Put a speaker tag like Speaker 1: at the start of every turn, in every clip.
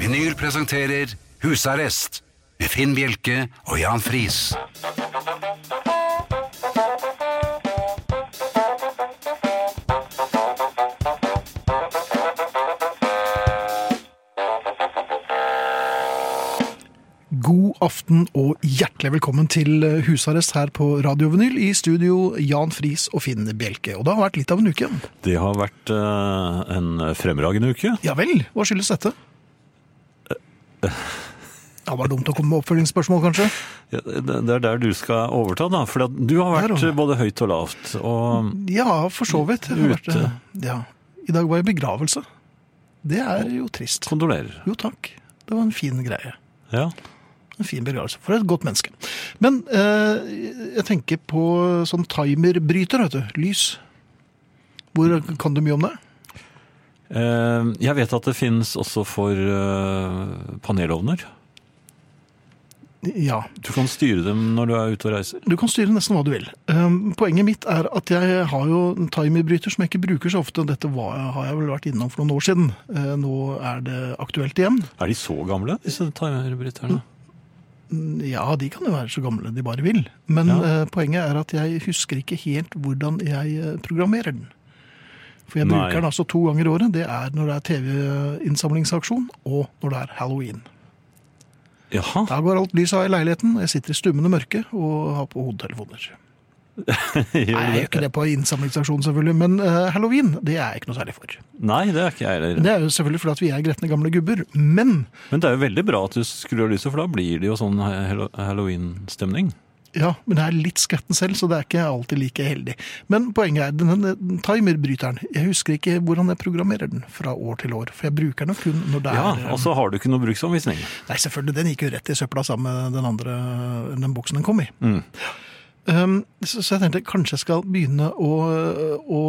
Speaker 1: Lyder presenterer Husarrest med Finn Bjelke og Jan Friis.
Speaker 2: God aften og hjertelig velkommen til eh, husarrest her på Radio Vinyl. I studio Jan Friis og Finn Bjelke. Og det har vært litt av en uke.
Speaker 3: Det har vært eh, en fremragende uke.
Speaker 2: Ja vel, Eh, hva skyldes dette? Det var dumt å komme med oppfølgingsspørsmål, kanskje.
Speaker 3: Ja, Det det er der du skal overta, da. For at du har vært
Speaker 2: Der, ja.
Speaker 3: både høyt og lavt. Og
Speaker 2: Ja, for så vidt. Jeg har vært, eh,
Speaker 3: Ute.
Speaker 2: ja. I dag var jeg i begravelse. Det er jo trist.
Speaker 3: kondolerer.
Speaker 2: Jo takk, det var en fin greie.
Speaker 3: Ja.
Speaker 2: En fin begravelse for et godt menneske. Men eh, jeg tenker på sånn timerbryter, vet du. Lys. Hvor kan du mye om det?
Speaker 3: Eh, Jeg vet at det finnes også for eh, panelovner.
Speaker 2: Ja.
Speaker 3: Du kan styre dem når du er ute og reiser.
Speaker 2: Du kan styre nesten hva du vil. Um, poenget mitt er at jeg har jo en timerbryter som jeg ikke bruker så ofte. Dette var, har jeg vel vært innom for noen år siden. Eh, nå er det aktuelt igjen.
Speaker 3: Er de så gamle, disse timerbryterne?
Speaker 2: Mm, Ja, de kan jo være så gamle de bare vil. Men
Speaker 3: Ja.
Speaker 2: eh, poenget er at jeg husker ikke helt hvordan jeg eh, programmerer den. For jeg
Speaker 3: Nei.
Speaker 2: bruker den altså to ganger i året. Det er når det er TV-innsamlingsaksjon, og når det er halloween.
Speaker 3: Mm. Jaha.
Speaker 2: Da går alt lyset av i leiligheten, og jeg sitter i stummende mørke og har på hodetelefoner. Nei, jeg gjør ikke det på innsamlingsaksjonen selvfølgelig, men eh, halloween det er jeg ikke noe særlig for.
Speaker 3: Nei, det er ikke jeg heller.
Speaker 2: Det er jo selvfølgelig fordi at vi er gretne gamle gubber, men
Speaker 3: Men det er jo veldig bra at du skrur av lyset, for da blir det jo sånn he- halloween-stemning.
Speaker 2: ja, men jeg er litt skretten selv, så det er ikke alltid like heldig. Men poenget er, denne timerbryteren, jeg husker ikke hvordan jeg programmerer den fra år til år, for jeg bruker den kun når det er... eh,
Speaker 3: Ja, altså- og så har du ikke noe bruksanvisning.
Speaker 2: Nei, selvfølgelig, den gikk jo rett i søpla sammen med den andre, den boksen den kom i.
Speaker 3: Mm.
Speaker 2: Um, så, så jeg tenkte kanskje jeg skal begynne å, å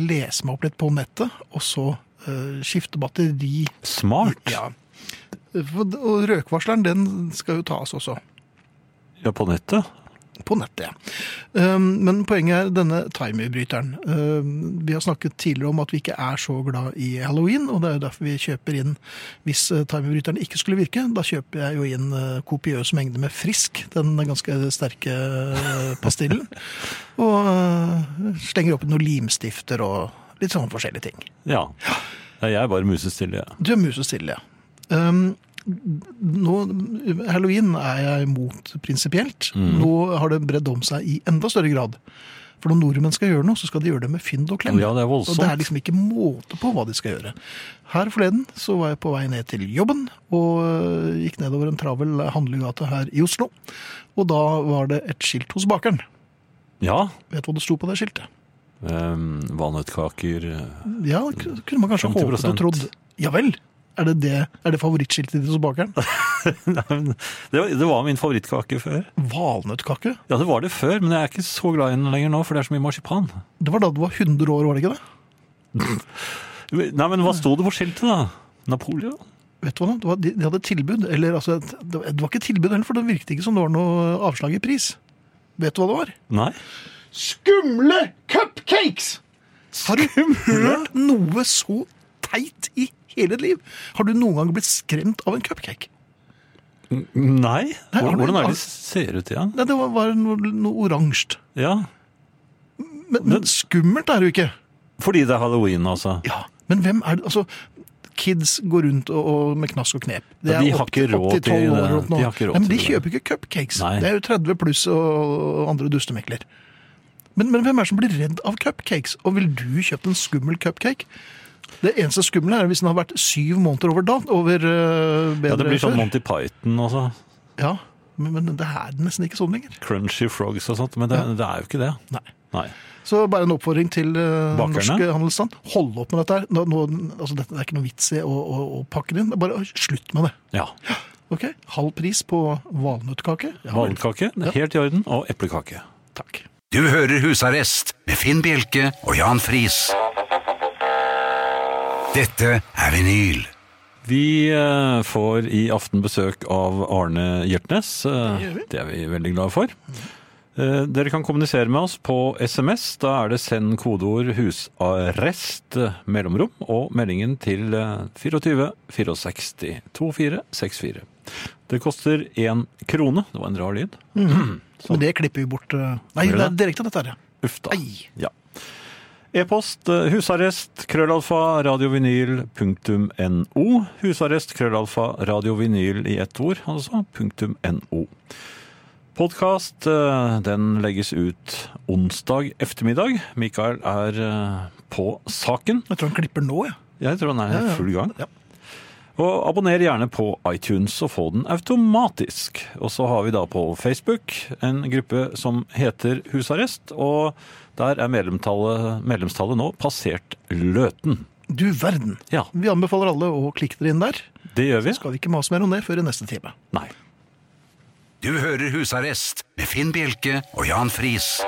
Speaker 2: lese meg opp litt på nettet, og så eh, skifte batteri
Speaker 3: Smart!
Speaker 2: Ja. For- Og røkvarsleren den skal jo tas også.
Speaker 3: Ja, på nettet.
Speaker 2: På nettet, ja. Um, Men poenget er denne timerbryteren. Um, Vi har snakket tidligere om at vi ikke er så glad i halloween, og det er jo derfor vi kjøper inn Hvis eh, timerbryteren ikke skulle virke, da kjøper jeg jo inn eh, kopiøs mengde med Frisk, den ganske sterke eh, pastillen. Og eh, slenger oppi noen limstifter og litt sånne forskjellige ting.
Speaker 3: Ja. Nei, Jeg er bare musestille. jeg.
Speaker 2: Du er musestille, ja. Um, nå, halloween er jeg imot prinsipielt.
Speaker 3: Mm.
Speaker 2: Nå har det bredd om seg i enda større grad. For når nordmenn skal gjøre noe, så skal de gjøre det med fynd og klem.
Speaker 3: Ja, det er voldsomt.
Speaker 2: Og det er liksom ikke måte på hva de skal gjøre. Her forleden så var jeg på vei ned til jobben, og øh, gikk nedover en travel handlegate her i Oslo. Og da var det et skilt hos bakeren.
Speaker 3: Ja.
Speaker 2: Vet du hva det sto på det skiltet?
Speaker 3: Um, Valnøttkaker eh,
Speaker 2: Ja, det ku- kunne man kanskje håpet
Speaker 3: 50%.
Speaker 2: og trodd. Ja vel? Er det, det, er det favorittskiltet ditt hos bakeren?
Speaker 3: Nei, men det, var- det var min favorittkake før.
Speaker 2: Valnøttkake?
Speaker 3: Ja, det var det før, men jeg er ikke så glad i den lenger nå, for det er så mye marsipan.
Speaker 2: Det var da du var 100 år, var det ikke det?
Speaker 3: Nei, men hva sto det på skiltet, da? Napoleon?
Speaker 2: Vet du hva da? Det var, de, de hadde et tilbud, eller altså, et- det var- det var ikke et tilbud heller, for det virket ikke som det var noe avslag i pris. Vet du hva det var?
Speaker 3: Nei.
Speaker 2: Skumle cupcakes! Har du hørt noe så teit i hele ditt liv? Har du noen gang blitt skremt av en cupcake?
Speaker 3: Nei?
Speaker 2: Nei, har
Speaker 3: Hvordan,
Speaker 2: du-
Speaker 3: hvordan er
Speaker 2: har-
Speaker 3: det de ser ut igjen?
Speaker 2: Nei, det var, var noe, noe oransje.
Speaker 3: Ja.
Speaker 2: Men, men skummelt er det jo ikke.
Speaker 3: Fordi det er halloween, altså.
Speaker 2: Ja, men hvem er det? Altså, kids går rundt og, og med knask og knep. Det
Speaker 3: Ja, de
Speaker 2: er
Speaker 3: har
Speaker 2: opp-
Speaker 3: ikke
Speaker 2: opp
Speaker 3: råd til
Speaker 2: 12 år
Speaker 3: det.
Speaker 2: og nå.
Speaker 3: De har ikke råd
Speaker 2: Nei, men de
Speaker 3: til det.
Speaker 2: kjøper ikke cupcakes.
Speaker 3: Nei.
Speaker 2: Det er jo 30 pluss og, og andre dustemekler. Men, men hvem er det som blir redd av cupcakes? Og vil du kjøpe en skummel cupcake? Det eneste skumle er hvis den har vært syv måneder over da, over øh, bedre
Speaker 3: Ja, det blir sånn
Speaker 2: før.
Speaker 3: Monty Python, altså.
Speaker 2: Ja, men, men det er nesten ikke sånn lenger.
Speaker 3: Crunchy frogs og sånt, men det, det er jo ikke det.
Speaker 2: Nei.
Speaker 3: Nei.
Speaker 2: Så bare en oppfordring til eh,
Speaker 3: Bakerne?
Speaker 2: norsk handelsstand. Hold opp med dette her. Nå, nå, altså, dette, det er ikke noe vits i å, å, å pakke det inn. Bare slutt med det.
Speaker 3: Ja.
Speaker 2: Ok, Halv pris på valnøttkake? Ja, vel,
Speaker 3: Valnøttkake, helt i orden. Og eplekake.
Speaker 2: takk.
Speaker 1: Du hører Husarrest med Finn Bjelke og Jan Friis. Dette er vinyl.
Speaker 3: Vi eh, får i aften besøk av Arne Hjertnes. eh,
Speaker 2: Det gjør vi.
Speaker 3: Det er vi veldig glade for. Eh, Dere kan kommunisere med oss på SMS. Da er det send kodeord 'husarrest' eh, mellomrom og meldingen til eh, 24 64 24 64. Det koster én krone. Det var en rar lyd.
Speaker 2: Men det klipper vi bort. eh. Nei,
Speaker 3: Gjør
Speaker 2: det
Speaker 3: det?
Speaker 2: er direkte dette her. ja.
Speaker 3: Uff da.
Speaker 2: Ei.
Speaker 3: Ja. E-post eh, husarrest krøllalfa radiovinyl.no. Husarrest krøllalfa radiovinyl i ett ord, altså. Punktum no. Podkast eh, den legges ut onsdag ettermiddag. Mikael er eh, på saken.
Speaker 2: Jeg tror han klipper nå, jeg.
Speaker 3: Jeg tror han
Speaker 2: Ja,
Speaker 3: er
Speaker 2: ja.
Speaker 3: i full gang.
Speaker 2: Ja.
Speaker 3: Og abonner gjerne på iTunes og få den automatisk. Og så har vi da på Facebook en gruppe som heter Husarrest, og der er medlemstallet, medlemstallet nå passert løten.
Speaker 2: Du verden.
Speaker 3: Ja,
Speaker 2: Vi anbefaler alle å klikke dere inn der.
Speaker 3: det gjør vi.
Speaker 2: Skal vi ikke mase mer om det før i neste time.
Speaker 3: Nei.
Speaker 1: Du hører Husarrest med Finn Bjelke og Jan Friis.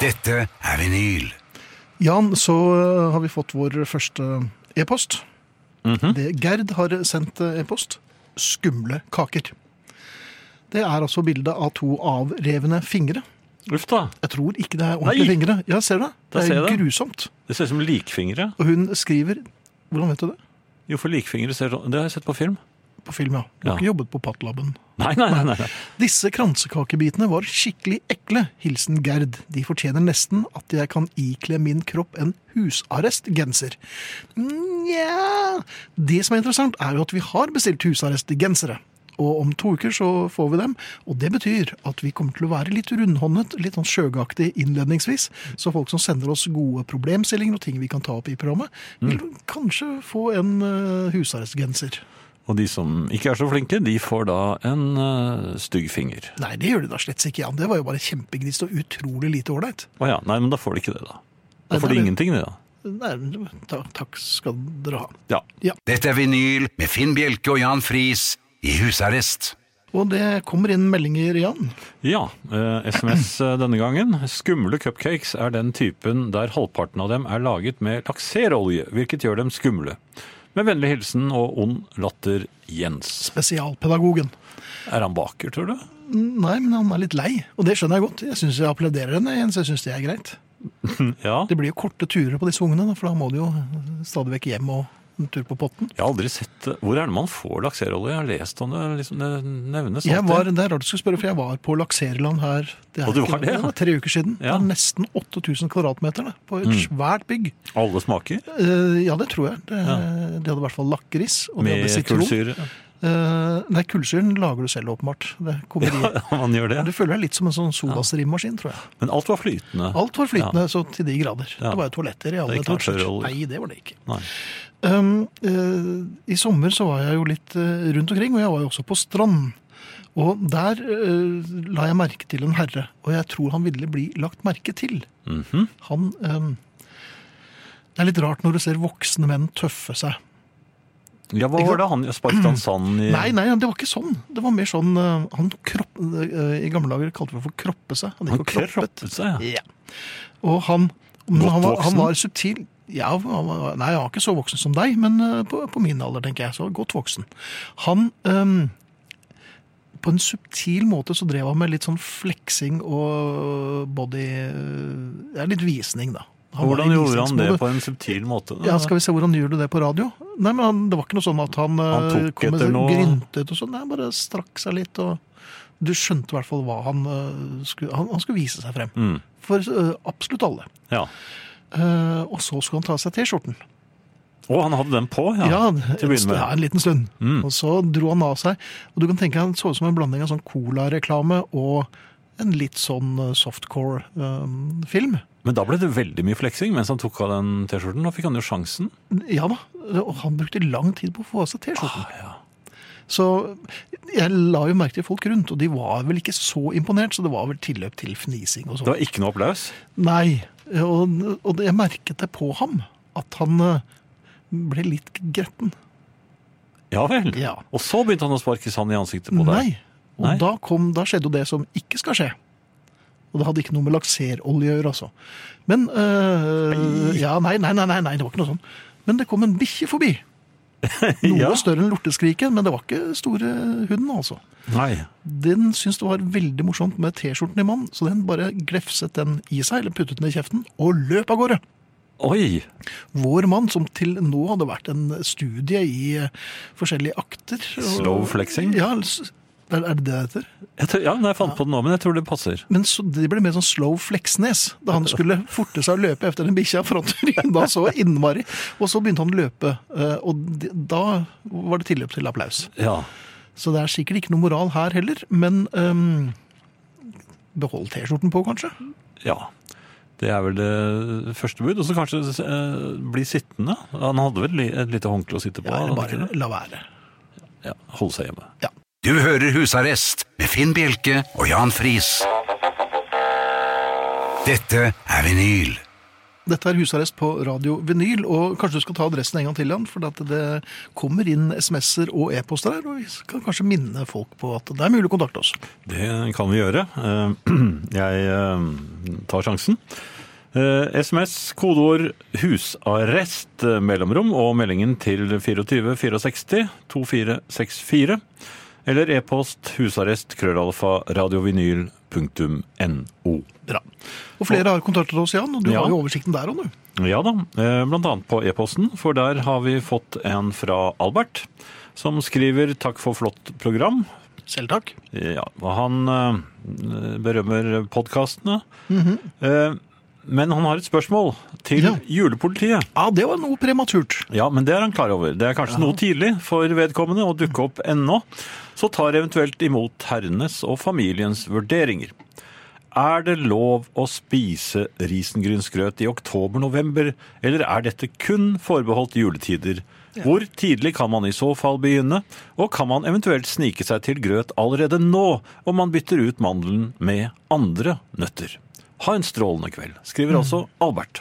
Speaker 1: Dette er vinyl.
Speaker 2: Jan, så eh, har vi fått vår første e-post.
Speaker 3: Mhm.
Speaker 2: det Gerd har sendt eh, e-post. Skumle kaker. Det er altså bilde av to avrevne fingre.
Speaker 3: Uff da.
Speaker 2: Jeg tror ikke det er ordentlige
Speaker 3: Nei!
Speaker 2: fingre. Ja, ser du det?
Speaker 3: Da
Speaker 2: Det
Speaker 3: ser
Speaker 2: er
Speaker 3: jeg det.
Speaker 2: grusomt.
Speaker 3: Det ser ut som likfingre.
Speaker 2: Og hun skriver Hvordan vet du det?
Speaker 3: Jo, for likfingre ser sånn Det har jeg sett på film.
Speaker 2: På film, ja. Du har
Speaker 3: Ja.
Speaker 2: ikke jobbet på Patlaben.
Speaker 3: Nei, nei, nei. nei.
Speaker 2: Disse kransekakebitene var skikkelig ekle. Hilsen Gerd. De fortjener nesten at jeg kan ikle min kropp en husarrestgenser. Nja Det som er interessant, er jo at vi har bestilt husarrestgensere. Og om to uker så får vi dem, og det betyr at vi kommer til å være litt rundhåndet, litt sånn sjøgaktig innledningsvis, så folk som sender oss gode problemstillinger og ting vi kan ta opp i programmet, vil kanskje få en eh, husarrestgenser.
Speaker 3: Og de som ikke er så flinke, de får da en eh, stygg finger.
Speaker 2: Nei, det gjør de da slett ikke, Jan. Det var jo bare kjempegnist og utrolig lite ålreit.
Speaker 3: Å ja. Nei, men da får de ikke det, da. Da
Speaker 2: Nei,
Speaker 3: får de
Speaker 2: det er det.
Speaker 3: ingenting, det, da.
Speaker 2: Nei, ta, takk skal dere ha.
Speaker 3: Ja.
Speaker 1: Dette er vinyl med Finn Bjelke og Jan Friis i husarrest.
Speaker 2: Og det kommer inn meldinger, Jan.
Speaker 3: Ja, eh, SMS denne gangen. Skumle cupcakes er den typen der halvparten av dem er laget med lakserolje, hvilket gjør dem skumle. Med vennlig hilsen og ond latter Jens.
Speaker 2: Spesialpedagogen.
Speaker 3: Er han baker, tror du?
Speaker 2: Nei, men han er litt lei, og det skjønner jeg godt. Jeg syns jeg applauderer henne, Jens. Jeg syns det er greit.
Speaker 3: Ja.
Speaker 2: Det blir jo korte turer på disse ungene, da, for da må de jo stadig vekk hjem og en tur på potten.
Speaker 3: Jeg har aldri sett eh, Hvor er det man får lakserolje? Jeg har lest om det. Liksom, det nevnes
Speaker 2: Jeg
Speaker 3: alltid.
Speaker 2: var, det er rart du skulle spørre, for jeg var på Lakserland her det er
Speaker 3: Og du
Speaker 2: ikke-
Speaker 3: var det, ja.
Speaker 2: det var tre uker siden.
Speaker 3: Ja.
Speaker 2: Det er
Speaker 3: Mm.
Speaker 2: nesten 8000 kvadratmeter da, på et svært bygg.
Speaker 3: Alle smaker
Speaker 2: Eh, ja, det tror jeg. Det, De hadde i hvert fall lakris. Og de
Speaker 3: med
Speaker 2: hadde sitron.
Speaker 3: kullsyre.
Speaker 2: Eh, nei, kullsyren lager du selv, åpenbart. Det kommer i.
Speaker 3: man gjør det.
Speaker 2: Du føler deg litt som en sånn sodastrimmaskin, tror jeg.
Speaker 3: Men alt var flytende.
Speaker 2: Alt var flytende så til de grader.
Speaker 3: Ja.
Speaker 2: Det var jo toaletter i alle
Speaker 3: Det er ikke noe
Speaker 2: etasjer.
Speaker 3: førerolje.
Speaker 2: Nei, det var det ikke.
Speaker 3: Nei.
Speaker 2: Um, eh, I sommer så var jeg jo litt eh, rundt omkring, og jeg var jo også på strand. Og der eh, la jeg merke til en herre, og jeg tror han ville bli lagt merke til.
Speaker 3: Mhm.
Speaker 2: Han ehm, Det er litt rart når du ser voksne menn tøffe seg.
Speaker 3: Ja, hva var det han sparket han sand i?
Speaker 2: Nei, nei, det var ikke sånn. Det var mer sånn eh, Han kropp, eh, i gamle dager kalte vi det for kroppe seg. Han
Speaker 3: han
Speaker 2: gikk og kroppet.
Speaker 3: kroppet seg. ja.
Speaker 2: Ja. Og han, men
Speaker 3: Godt
Speaker 2: han, var,
Speaker 3: voksen?
Speaker 2: han var subtil. Ja, han var, nei, han var ikke så voksen som deg, men eh, på, på min alder, tenker jeg. Så godt voksen. Han ehm, På en subtil måte så drev han med litt sånn fleksing og body Det er litt visning, da. Han var i
Speaker 3: Hvordan gjorde han det
Speaker 2: visningsmode.
Speaker 3: på en subtil måte?
Speaker 2: Ja, altså- skal vi se hvordan gjør du det på radio? Nei, men han, Det var ikke noe sånn at han,
Speaker 3: Han
Speaker 2: eh,
Speaker 3: tok
Speaker 2: kom med
Speaker 3: etter
Speaker 2: sånn
Speaker 3: noe-
Speaker 2: gryntet og sånn. Nei, han bare strakk seg litt. og Du skjønte i hvert fall hva han eh, skulle Han, han skulle vise seg frem.
Speaker 3: Mm.
Speaker 2: For eh, absolutt alle.
Speaker 3: Ja.
Speaker 2: Eh, og så skulle han ta av seg T-skjorten.
Speaker 3: Å, han hadde den på, ja.
Speaker 2: Ja,
Speaker 3: til å begynne
Speaker 2: ja,
Speaker 3: med.
Speaker 2: en liten stund.
Speaker 3: Mm.
Speaker 2: Og så dro han av seg. Og du kan tenke Han så ut som en blanding av sånn Cola-reklame og en litt sånn eh, softcore-film.
Speaker 3: Men da ble det veldig mye fleksing mens han tok av den T-skjorten. Nå fikk han jo sjansen.
Speaker 2: ja da. Og han brukte lang tid på å få av seg T-skjorten.
Speaker 3: Ah, ja.
Speaker 2: Så jeg la jo merke til folk rundt, og de var vel ikke så imponert, så det var vel tilløp til fnising og
Speaker 3: Det
Speaker 2: sånn.
Speaker 3: var ikke noe applaus.
Speaker 2: Nei, og, og det- jeg merket det på ham, at han eh, ble litt gretten.
Speaker 3: Ja vel.
Speaker 2: Ja.
Speaker 3: Og så begynte han å sparke sand i ansiktet på deg.
Speaker 2: Nei, og
Speaker 3: Nei.
Speaker 2: Da, kom, da skjedde jo det som ikke skal skje. Og det hadde ikke noe med lakserolje å gjøre, altså. øh, Men eh, ja, nei, nei, nei, nei, nei, det var ikke noe sånn. Men det kom en bikkje forbi. Noe
Speaker 3: Ja.
Speaker 2: større enn lorteskriket, men det var ikke store hunden, altså.
Speaker 3: Nei.
Speaker 2: Den syntes det var veldig morsomt med T-skjorten i mann, så den bare glefset den i seg, eller puttet den i kjeften, og løp av gårde.
Speaker 3: Oi!
Speaker 2: Vår mann, som til nå hadde vært en studie i eh, forskjellige akter. og-
Speaker 3: Slow flexing?
Speaker 2: Ja, s- er er det det det heter?
Speaker 3: Jeg tror, ja, men jeg fant på det nå, men jeg tror det passer.
Speaker 2: Men så, det ble mer sånn slow fleksnes, da han skulle forte seg å løpe etter den bikkja, for han rynda så innmari. Og så begynte han å løpe, eh, og de- da var det tilløp til applaus.
Speaker 3: Ja.
Speaker 2: Så det er sikkert ikke noe moral her heller, men ehm, behold T-skjorten på, kanskje?
Speaker 3: ja. Det er vel det første bud. Og så kanskje eh, bli sittende. Han hadde vel li- et lite håndkle å sitte på?
Speaker 2: Ja, eller
Speaker 3: hadde han ikke
Speaker 2: bare la være.
Speaker 3: det? ja, Holde seg hjemme.
Speaker 1: Du hører Husarrest med Finn Bjelke og Jan Friis. Dette er vinyl.
Speaker 2: Dette er husarrest på Radio Vinyl, og kanskje du skal ta adressen en gang til, Jan, for at det kommer inn SMS-er og e-poster her, og vi skal kanskje minne folk på at det er mulig å kontakte oss.
Speaker 3: Det kan vi gjøre. Eh, Jeg eh, tar sjansen. Eh, SMS, kodeord 'husarrest', eh, mellomrom, og meldingen til 2464 2464. Eller e-post husarrest krøllalfa radiovinyl.no.
Speaker 2: Bra. Og flere har kontaktet oss, Jan, og du
Speaker 3: Ja.
Speaker 2: har jo oversikten der òg, du.
Speaker 3: Ja da, eh, blant annet på e-posten, for der har vi fått en fra Albert, som skriver 'takk for flott program'.
Speaker 2: Selv takk.
Speaker 3: Ja, og han eh, berømmer podkastene. Eh, Men han har et spørsmål til
Speaker 2: Ja.
Speaker 3: julepolitiet.
Speaker 2: Ja, det var noe prematurt.
Speaker 3: Ja, men det er han klar over. Det er kanskje noe tidlig for vedkommende å dukke opp ennå. Så tar eventuelt imot herrenes og familiens vurderinger. Er det lov å spise risengrynsgrøt i oktober-november, eller er dette kun forbeholdt juletider? Hvor tidlig kan man i så fall begynne, og kan man eventuelt snike seg til grøt allerede nå, om man bytter ut mandelen med andre nøtter? Ha en strålende kveld, skriver altså Albert.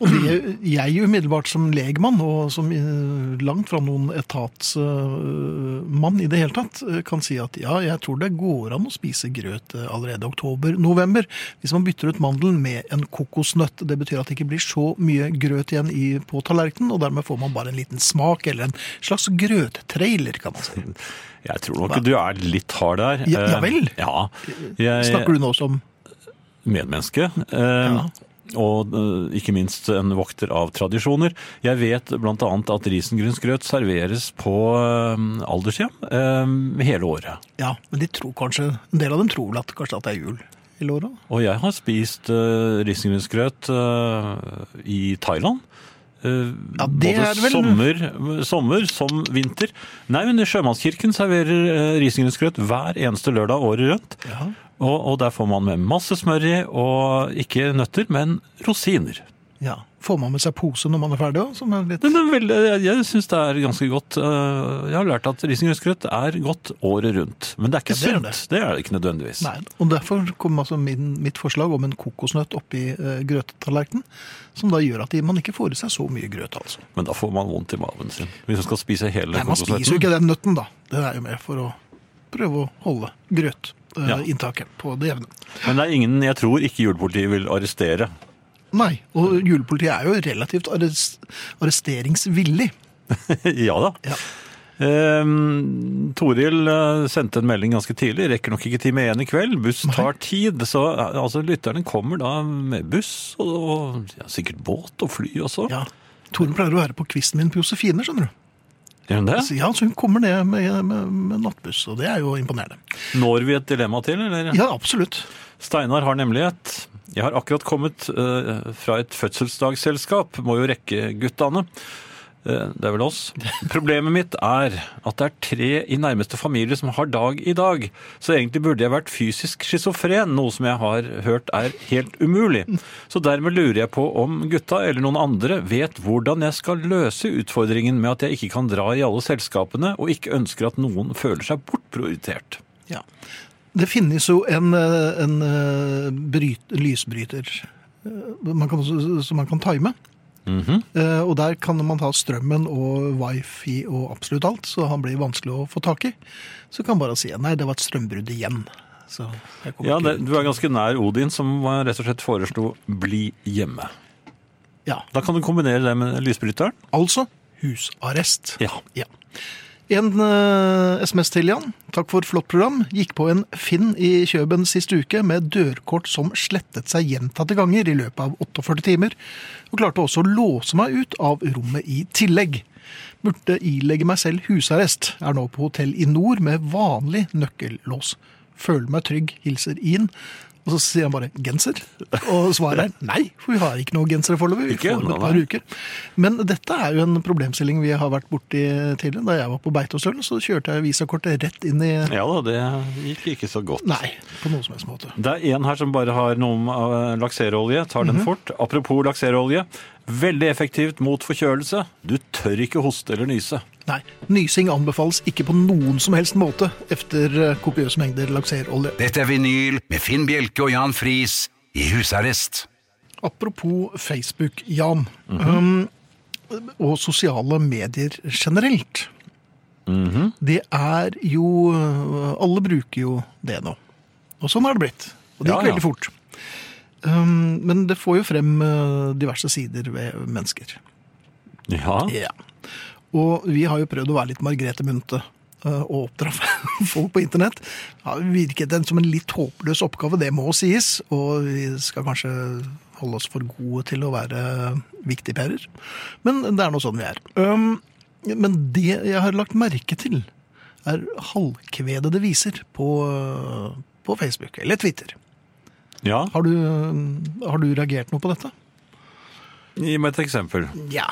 Speaker 2: Og det, jeg jo umiddelbart som legmann, og som eh, langt fra noen etatsmann i det hele tatt, eh, kan si at ja, jeg tror det går an å spise grøt eh, allerede oktober-november, hvis man bytter ut mandelen med en kokosnøtt. Det betyr at det ikke blir så mye grøt igjen i, på tallerkenen, og dermed får man bare en liten smak, eller en slags grøttrailer, kan man si.
Speaker 3: Jeg tror nok du er litt hard der.
Speaker 2: Ja- ja
Speaker 3: Eh,
Speaker 2: vel.
Speaker 3: Ja. Jeg,
Speaker 2: Snakker du nå som
Speaker 3: medmenneske. eh, Og eh, ikke minst en vokter av tradisjoner. Jeg vet bl.a. at risengrynsgrøt serveres på eh, aldershjem eh, hele året.
Speaker 2: Ja, men de tror kanskje, en del av dem tror vel at kanskje at det er jul i låra.
Speaker 3: Og jeg har spist eh, risengrynsgrøt eh, i Thailand. Eh,
Speaker 2: Ja, det
Speaker 3: Både
Speaker 2: er vel-
Speaker 3: sommer, sommer som vinter. Nei, men Sjømannskirken serverer eh, risengrynsgrøt hver eneste lørdag året rundt.
Speaker 2: Ja.
Speaker 3: Og, og der får man med masse smør i, og ikke nøtter, men rosiner.
Speaker 2: ja. Får man med seg pose når man er ferdig òg, som er litt
Speaker 3: Men det er veldig, jeg- jeg syns det er ganske godt. øh, Jeg har lært at risengrynsgrøt er godt året rundt. Men det er ikke
Speaker 2: Ja, det er
Speaker 3: sunt. Det. er det ikke nødvendigvis.
Speaker 2: Nei, og Derfor kom altså min, mitt forslag om en kokosnøtt oppi eh, grøtetallerkenen. Som da gjør at de- man ikke får i seg så mye grøt, altså.
Speaker 3: Men da får man vondt i magen sin hvis man skal spise hele
Speaker 2: Nei, Man spiser jo
Speaker 3: kokosnøtten.
Speaker 2: ikke den nøtten, da. Det er jo mer for å prøve å holde
Speaker 3: Ja.
Speaker 2: grøtinntaket på det jevne.
Speaker 3: Men det er ingen jeg tror ikke julepolitiet vil arrestere.
Speaker 2: Nei, og julepolitiet er jo relativt arres- arresteringsvillig.
Speaker 3: ja da.
Speaker 2: Ja.
Speaker 3: Ehm, Toril eh, sendte en melding ganske tidlig. Rekker nok ikke time én i kveld. Buss tar tid. Så eh, altså, lytterne kommer da med buss og, og ja, sikkert båt og fly også.
Speaker 2: Ja. Toren pleier å være på kvisten min på Josefine, skjønner du.
Speaker 3: Gjør den det?
Speaker 2: Så, ja, så hun kommer ned med, med, med nattbuss, og det er jo imponerende.
Speaker 3: Når vi et dilemma til, eller?
Speaker 2: Ja, absolutt.
Speaker 3: Steinar har nemlig et Jeg har akkurat kommet eh, fra et fødselsdagsselskap. Må jo rekke guttene. Eh, det er vel oss. Problemet mitt er at det er tre i nærmeste familie som har dag i dag. Så egentlig burde jeg vært fysisk schizofren, noe som jeg har hørt er helt umulig. Så dermed lurer jeg på om gutta eller noen andre vet hvordan jeg skal løse utfordringen med at jeg ikke kan dra i alle selskapene og ikke ønsker at noen føler seg bortprioritert.
Speaker 2: Ja. Det finnes jo en, eh, en eh, bryt, lysbryter eh, man kan, som man kan time.
Speaker 3: Mhm.
Speaker 2: Eh, Og der kan man ta strømmen og wifi og absolutt alt, så han blir vanskelig å få tak i. Så kan man bare si nei, det var et strømbrudd igjen. Så jeg kommer
Speaker 3: Ja,
Speaker 2: ikke
Speaker 3: det,
Speaker 2: ut.
Speaker 3: du er ganske nær Odin, som eh, rett og slett foreslo 'bli hjemme'.
Speaker 2: ja.
Speaker 3: Da kan du kombinere det med lysbryteren.
Speaker 2: Altså, husarrest.
Speaker 3: Ja.
Speaker 2: Ja. En eh, SMS til, Jan. Takk for flott program. Gikk på en Finn i Kjøben sist uke med dørkort som slettet seg gjentatte ganger i løpet av 48 timer, og klarte også å låse meg ut av rommet i tillegg. Burde ilegge meg selv husarrest. Er nå på hotell i nord med vanlig nøkkellås. Føler meg trygg. Hilser Ian. Og så sier han bare 'genser', og svaret er nei, for vi har ikke noe gensere foreløpig. Vi
Speaker 3: Ikke?
Speaker 2: får om et
Speaker 3: Nei,
Speaker 2: par
Speaker 3: nei.
Speaker 2: uker. Men dette er jo en problemstilling vi har vært borti tidligere. Da jeg var på Beitostølen, så kjørte jeg visakortet rett inn i
Speaker 3: ja da, det gikk ikke så godt.
Speaker 2: Nei, på noen som helst måte.
Speaker 3: Det er en her som bare har noe om eh, lakserolje. Tar den fort. Apropos lakserolje. Veldig effektivt mot forkjølelse. Du tør ikke hoste eller nyse.
Speaker 2: Nei. Nysing anbefales ikke på noen som helst måte etter eh, kopiøse mengder lakserolje.
Speaker 1: Dette er vinyl med Finn Bjelke og Jan Friis i husarrest.
Speaker 2: Apropos Facebook, Jan, um, og sosiale medier generelt.
Speaker 3: Mhm.
Speaker 2: Det er jo øh, Alle bruker jo det nå. Og sånn har det blitt. Og det
Speaker 3: Ja,
Speaker 2: gikk
Speaker 3: ja.
Speaker 2: veldig fort. Um, men det får jo frem eh, diverse sider ved mennesker.
Speaker 3: Ja.
Speaker 2: Ja. Og vi har jo prøvd å være litt Margrethe Munthe eh, og oppdra folk på internett. Ja, det virket en, som en litt håpløs oppgave, det må sies. Og vi skal kanskje holde oss for gode til å være viktigpærer. Men det er nå sånn vi er. Um, men det jeg har lagt merke til, er halvkvedede viser på, eh, på Facebook eller Twitter.
Speaker 3: ja.
Speaker 2: Har du, eh, har du reagert noe på dette?
Speaker 3: Gi meg et eksempel.
Speaker 2: Ja.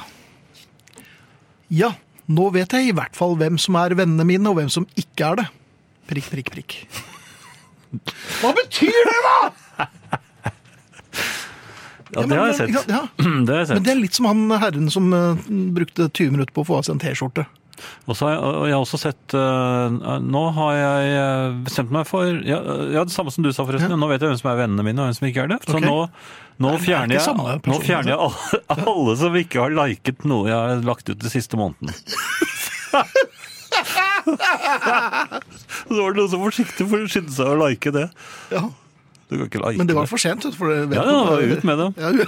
Speaker 2: Ja, nå vet jeg i hvert fall hvem som er vennene mine, og hvem som ikke er det. Prikk, prikk, prikk. Hva betyr det, da?!
Speaker 3: Ja, det har jeg
Speaker 2: men-
Speaker 3: sett.
Speaker 2: Ja,
Speaker 3: Det har jeg
Speaker 2: Men
Speaker 3: sett.
Speaker 2: det er litt som han herren som eh, brukte 20 minutter på å få av seg en T-skjorte.
Speaker 3: Og så har jeg, og jeg har også sett eh, Nå har jeg eh, bestemt meg for ja, ja, det samme som du sa, forresten. Nå vet jeg hvem som er vennene mine, og hvem som ikke er det. Så
Speaker 2: Ok.
Speaker 3: nå,
Speaker 2: det
Speaker 3: nå,
Speaker 2: er ikke
Speaker 3: fjerner jeg,
Speaker 2: samme
Speaker 3: nå
Speaker 2: person, altså.
Speaker 3: fjerner jeg alle, alle som ikke har liket noe jeg har lagt ut den siste måneden. Så var det noen som var forsiktig for å skynde seg å like det.
Speaker 2: Ja,
Speaker 3: Du kan ikke like
Speaker 2: Men det var for sent. vet du, For det vet
Speaker 3: Ja,
Speaker 2: du.
Speaker 3: ja, ut med det.
Speaker 2: Ja, du-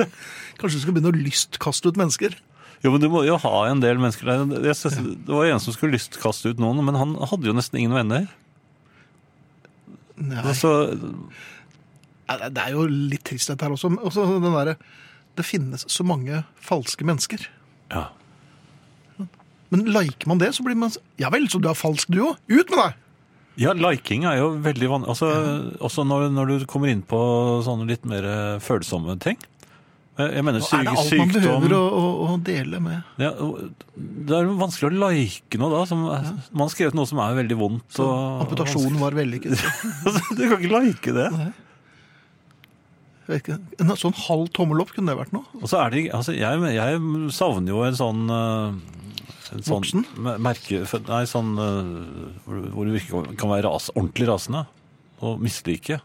Speaker 2: Kanskje du skal begynne å lystkaste ut mennesker?
Speaker 3: Jo, men du må jo ha en del mennesker der. Jeg synes, Det var en som skulle lystkaste ut noen, men han hadde jo nesten ingen venner.
Speaker 2: Nei.
Speaker 3: Så
Speaker 2: Ja, Det det er jo litt trist dette her også. men også den derre, det finnes så mange falske mennesker.
Speaker 3: ja.
Speaker 2: Men liker man det, så blir man s- Ja vel, så du er falsk du òg? Ut med deg!
Speaker 3: Ja, liking er jo veldig vanlig. Altså, Også når, når du kommer inn på sånne litt mer eh, følsomme ting. Eh, Jeg mener
Speaker 2: Nå
Speaker 3: syk,
Speaker 2: er det alt man
Speaker 3: sykdom
Speaker 2: behøver å, å, å dele med.
Speaker 3: ja, og Det er jo vanskelig å like noe da. Som, Man har skrevet noe som er veldig vondt. Og,
Speaker 2: Amputasjonen var vellykket.
Speaker 3: vanskelig. Du kan ikke like det.
Speaker 2: Jeg vet ikke, En sånn halv tommel opp kunne det vært noe.
Speaker 3: Og så er det, altså, jeg, jeg savner jo en sånn eh, en sånn
Speaker 2: Voksen?
Speaker 3: me- Merke, nei, sånn eh, hvor du- hvor du virkelig kan være ras, ordentlig rasende. Og mislike.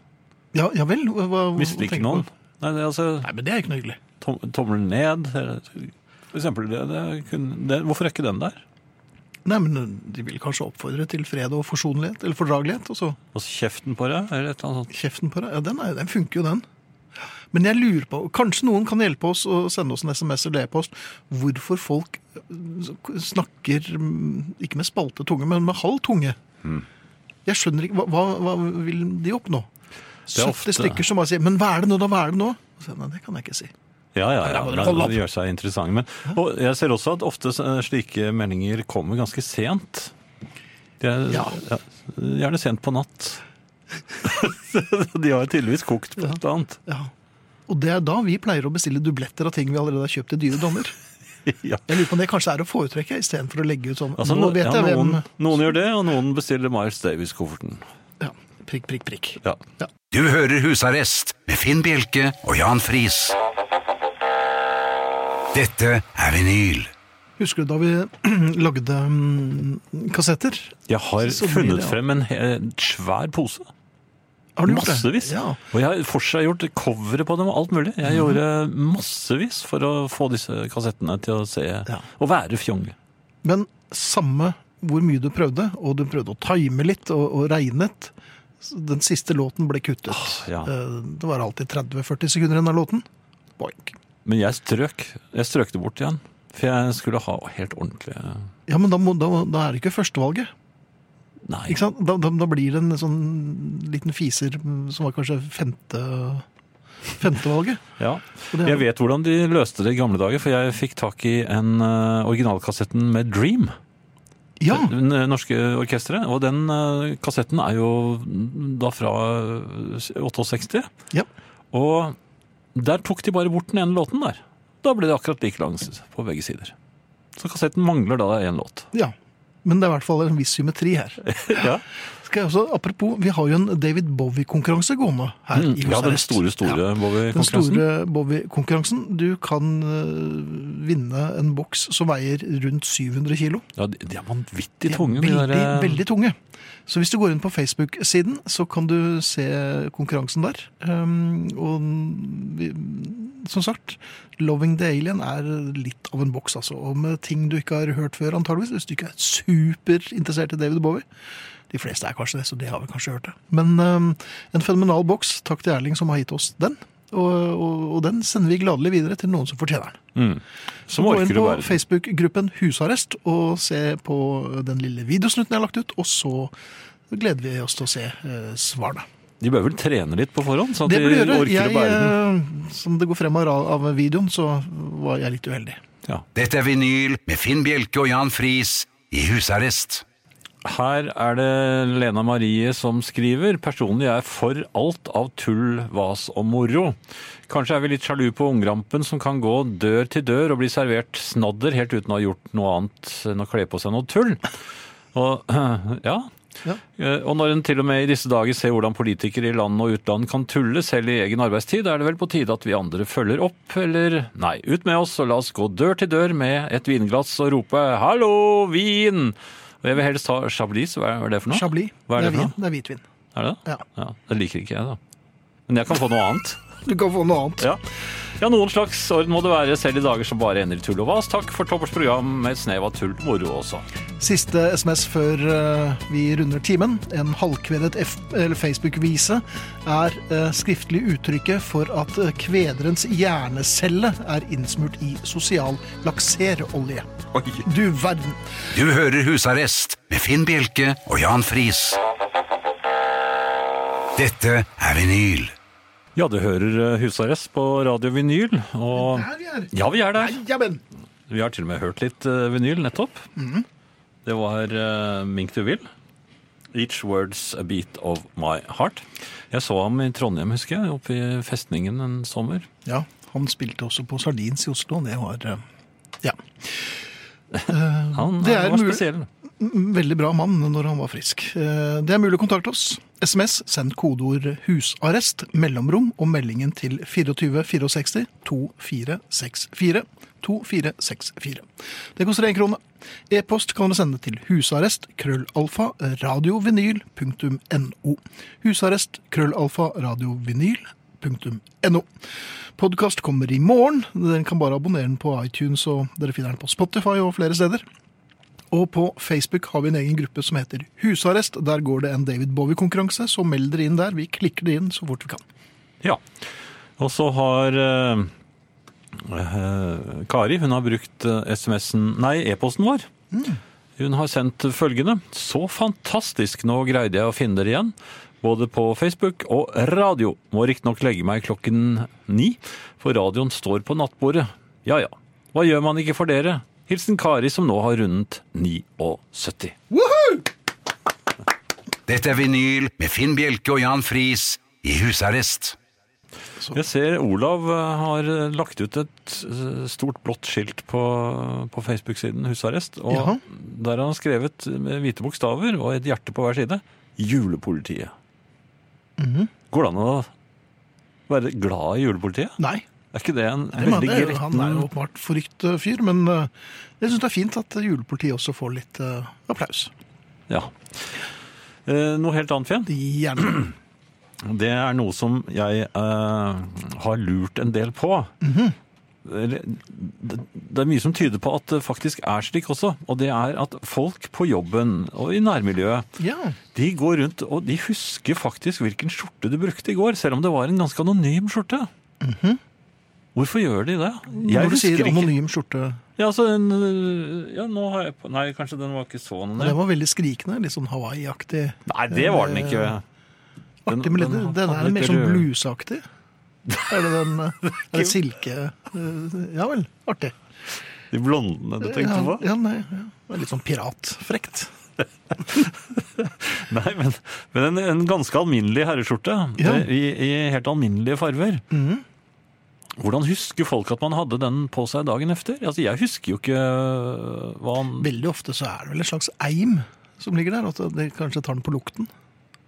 Speaker 2: Ja, ja vel? Hva, hva, hva
Speaker 3: Mislike
Speaker 2: tenker
Speaker 3: noen.
Speaker 2: du på?
Speaker 3: Nei, det, er altså,
Speaker 2: Nei, men det er ikke noe hyggelig.
Speaker 3: tom, tommelen ned. eller- For eksempel, det, det, kun- det, hvorfor er ikke den der?
Speaker 2: Nei, men øh, De vil kanskje oppfordre til fred og forsonlighet, eller fordragelighet. Og så
Speaker 3: Og så kjeften på deg, eller et eller annet sånt.
Speaker 2: kjeften på deg. Ja, den, er, den funker jo, den. Men jeg lurer på, kanskje noen kan hjelpe oss og sende oss en SMS eller e-post, hvorfor folk øh, snakker mm, ikke med spalte tunge, men med halv tunge.
Speaker 3: Mm.
Speaker 2: Jeg skjønner ikke, hva, hva- hva vil de oppnå? 70
Speaker 3: er ofte-
Speaker 2: stykker som bare sier, men hva er det nå da, hva er det nå? Og så, Nei, det kan jeg ikke si.
Speaker 3: Ja, ja, ja.
Speaker 2: Nei, da
Speaker 3: men
Speaker 2: må du holde
Speaker 3: Det gjør seg interessant. Men, og jeg ser også at ofte så- slike meldinger kommer ganske sent. De er, ja.
Speaker 2: Ja.
Speaker 3: gjerne sent på natt. De har tydeligvis kokt på et eller annet.
Speaker 2: Ja. Og det er da vi pleier å bestille dubletter av ting vi allerede har kjøpt i dyre dommer.
Speaker 3: Ja.
Speaker 2: Jeg lurer på om det kanskje er å foretrekke, i stedet for å legge ut sånn.
Speaker 3: Altså,
Speaker 2: nå vet
Speaker 3: ja,
Speaker 2: jeg hvem...
Speaker 3: noen, noen gjør det, og noen bestiller Miles Davis-kofferten.
Speaker 2: Ja, prikk, prikk, prikk.
Speaker 3: Ja.
Speaker 2: Ja.
Speaker 1: Du hører Husarrest med Finn Bjelke og Jan Friis. Dette er vinyl.
Speaker 2: Husker du da vi lagde mm, kassetter?
Speaker 3: Jeg har
Speaker 2: Så mye,
Speaker 3: funnet
Speaker 2: ja.
Speaker 3: frem en, he- en svær pose.
Speaker 2: Har du gjort det?
Speaker 3: Massevis.
Speaker 2: Ja. Mhm.
Speaker 3: Og jeg har fortsatt gjort coveret på dem og alt mulig. Jeg gjorde massevis for å få disse kassettene til å se og være fjong.
Speaker 2: Men samme hvor mye du prøvde, og du prøvde å time litt og, og regnet, så den siste låten ble kuttet.
Speaker 3: Ah, ja.
Speaker 2: Eh, Det var alltid 30-40 sekunder igjen av låten. Boink.
Speaker 3: Men jeg strøk. Jeg strøk det bort igjen. For jeg skulle ha helt ordentlig
Speaker 2: Ja, men da, må, da, da er det ikke førstevalget.
Speaker 3: Nei.
Speaker 2: Ikke sant? Da, da, da blir det en sånn liten fiser mm, som var kanskje femte femtevalget.
Speaker 3: Ja.
Speaker 2: Og det er-
Speaker 3: Jeg vet hvordan de løste det i gamle dager, for jeg fikk tak i en eh, originalkassetten med Dream.
Speaker 2: Ja!
Speaker 3: Det n- norske orkestret. Og den eh, kassetten er jo da fra eh, 68.
Speaker 2: Ja.
Speaker 3: Og der tok de bare bort den ene låten der. Da ble det akkurat like lang på begge sider. Så kassetten mangler da én låt. Mm.
Speaker 2: ja. Men det er i hvert fall en viss symmetri her.
Speaker 3: Ja,
Speaker 2: Skal jeg også, apropos, vi har jo en David Bowie-konkurranse gående her. i
Speaker 3: Mm, ja
Speaker 2: Hus
Speaker 3: den
Speaker 2: Arrest.
Speaker 3: store, store
Speaker 2: Den
Speaker 3: Bowie-konkurransen.
Speaker 2: store Bowie-konkurransen. Du kan øh, vinne en boks som veier rundt 700 kilo.
Speaker 3: Ja, de de er vanvittig
Speaker 2: De er
Speaker 3: tunge, de
Speaker 2: veldig,
Speaker 3: der. eh,
Speaker 2: veldig tunge. Så hvis du går inn på Facebook-siden, så kan du se konkurransen der. Um, og vi, som sagt, 'Loving the Alien' er litt av en boks, altså. Og med ting du ikke har hørt før, antageligvis. Hvis du ikke er superinteressert i David Bowie. De fleste er kanskje det, så de har vel kanskje hørt det. Men um, en fenomenal boks. Takk til Erling som har gitt oss den. Og, og, og den sender vi gladelig videre til noen som fortjener den.
Speaker 3: Mm.
Speaker 2: Så
Speaker 3: Som
Speaker 2: gå inn
Speaker 3: orker du
Speaker 2: på
Speaker 3: verden.
Speaker 2: Facebook-gruppen Husarrest og se på den lille videosnutten jeg har lagt ut, og så gleder vi oss til å se eh, svarene.
Speaker 3: De bør vel trene litt på forhånd, sånn at
Speaker 2: Det
Speaker 3: de
Speaker 2: burde jeg gjøre.
Speaker 3: orker å
Speaker 2: Jeg,
Speaker 3: bære den.
Speaker 2: eh, som det går frem av, ra- av videoen, så var jeg litt uheldig.
Speaker 3: Ja.
Speaker 1: Dette er vinyl med Finn Bjelke og Jan Friis i husarrest.
Speaker 3: Her er det Lena Marie som skriver. Personlig er jeg for alt av tull, vas og moro. Kanskje er vi litt sjalu på ungrampen som kan gå dør til dør og bli servert snadder helt uten å ha gjort noe annet enn å kle på seg noe tull. Og ja.
Speaker 2: Ja.
Speaker 3: Eh, Og når en til og med i disse dager ser hvordan politikere i land og utland kan tulle selv i egen arbeidstid, er det vel på tide at vi andre følger opp, eller nei, ut med oss og la oss gå dør til dør med et vinglass og rope 'hallo, vin'! Og jeg vil helst ha chablis, hva er- hva er det for noe?
Speaker 2: Chablis.
Speaker 3: Hva er det
Speaker 2: det, er
Speaker 3: for
Speaker 2: vin, det er hvitvin.
Speaker 3: Er det det?
Speaker 2: Ja.
Speaker 3: Ja, det liker ikke jeg, da. Men jeg kan få noe annet.
Speaker 2: Du kan få noe annet.
Speaker 3: Ja. ja, noen slags orden må det være, selv i dager som bare ender i tull og vas. Takk for toppers program med et snev av tull og moro også.
Speaker 2: Siste SMS før eh, vi runder timen. En halvkvedet F- eller Facebook-vise er eh, skriftlig uttrykket for at eh, kvederens hjernecelle er innsmurt i sosial lakserolje. Du verden.
Speaker 1: Du hører Husarrest med Finn Bjelke og Jan Friis. Dette er vinyl.
Speaker 3: Ja, du hører eh, Husarrest på Radio Vinyl, og
Speaker 2: Der vi er.
Speaker 3: ja, vi er der.
Speaker 2: Jamen.
Speaker 3: Vi har til og med hørt litt eh, vinyl nettopp.
Speaker 2: Mhm.
Speaker 3: Det var eh, Mink du vil. Each word's a beat of my heart. Jeg så ham i Trondheim, husker jeg, oppe i festningen en sommer.
Speaker 2: Ja, han spilte også på Sardins i Oslo. Det var eh, ja. Eh,
Speaker 3: Han
Speaker 2: Det er
Speaker 3: var
Speaker 2: mulig.
Speaker 3: spesiell.
Speaker 2: m- veldig bra mann når han var frisk. Eh, Det er mulig å kontakte oss. SMS, send kodeord 'husarrest', mellomrom og meldingen til 2464 2464 2464. Det koster én krone. E-post kan dere sende til husarrest krøllalfa radiovinyl.no. Husarrest krøllalfa radiovinyl.no. Podkast kommer i morgen. Dere kan bare abonnere den på iTunes, og dere finner den på Spotify og flere steder. Og på Facebook har vi en egen gruppe som heter Husarrest. Der går det en David Bowie-konkurranse, så meld dere inn der. Vi klikker det inn så fort vi kan.
Speaker 3: Ja. Og så har eh, eh, Kari hun har brukt eh, SMS-en, nei, e-posten vår. Hun har sendt følgende. Så fantastisk, nå greide jeg å finne dere igjen. Både på Facebook og radio. Må riktignok legge meg klokken ni, for radioen står på nattbordet. Ja ja, hva gjør man ikke for dere? Hilsen Kari som nå har rundet 79.
Speaker 1: Dette er vinyl med Finn Bjelke og Jan Friis i husarrest.
Speaker 3: Jeg ser Olav eh, har eh, lagt ut et eh, stort blått skilt på, på Facebook-siden Husarrest. Og
Speaker 2: Jaha.
Speaker 3: der har han skrevet med hvite bokstaver og et hjerte på hver side Julepolitiet.
Speaker 2: Mhm.
Speaker 3: Går det an å være glad i julepolitiet?
Speaker 2: Nei.
Speaker 3: Er ikke det en
Speaker 2: Det
Speaker 3: veldig
Speaker 2: mener jeg. Han er jo
Speaker 3: gretten
Speaker 2: åpenbart forrykt eh, fyr, men eh, jeg syns det er fint at julepolitiet også får litt eh, applaus.
Speaker 3: ja. Eh, Noe helt annet, Fjen.
Speaker 2: De Gjerne.
Speaker 3: Det er noe som jeg eh, har lurt en del på.
Speaker 2: Mhm.
Speaker 3: Eller, det, det er mye som tyder på at det faktisk er slik også. Og det er at folk på jobben og i nærmiljøet,
Speaker 2: Ja.
Speaker 3: de går rundt og de husker faktisk hvilken skjorte du brukte i går, selv om det var en ganske anonym skjorte. Hvorfor gjør de det?
Speaker 2: Mhm. Når du sier anonym skjorte
Speaker 3: Ja, altså, en, øh, ja, nå har jeg på Nei, kanskje den var ikke så
Speaker 2: Den
Speaker 3: anonym.
Speaker 2: var veldig skrikende, litt sånn Hawaii-aktig.
Speaker 3: Nei, det var den ikke. Den-
Speaker 2: Artig med litt,
Speaker 3: den
Speaker 2: den,
Speaker 3: hadde
Speaker 2: er
Speaker 3: litt
Speaker 2: mer sånn
Speaker 3: rød-
Speaker 2: bluesaktig. Er det den eh, er det silke eh, Ja vel, artig.
Speaker 3: De blondene du
Speaker 2: ja,
Speaker 3: tenkte på?
Speaker 2: ja, nei, ja. Det er Litt sånn piratfrekt.
Speaker 3: Nei, men, men en, en ganske alminnelig herreskjorte
Speaker 2: Ja. Mhm.
Speaker 3: det- i, i helt alminnelige farver. Hvordan husker folk at man hadde den på seg dagen efter? Altså, jeg husker jo ikke øh, hva han
Speaker 2: Veldig ofte så er det vel en slags eim som ligger der, at det kanskje tar den på lukten.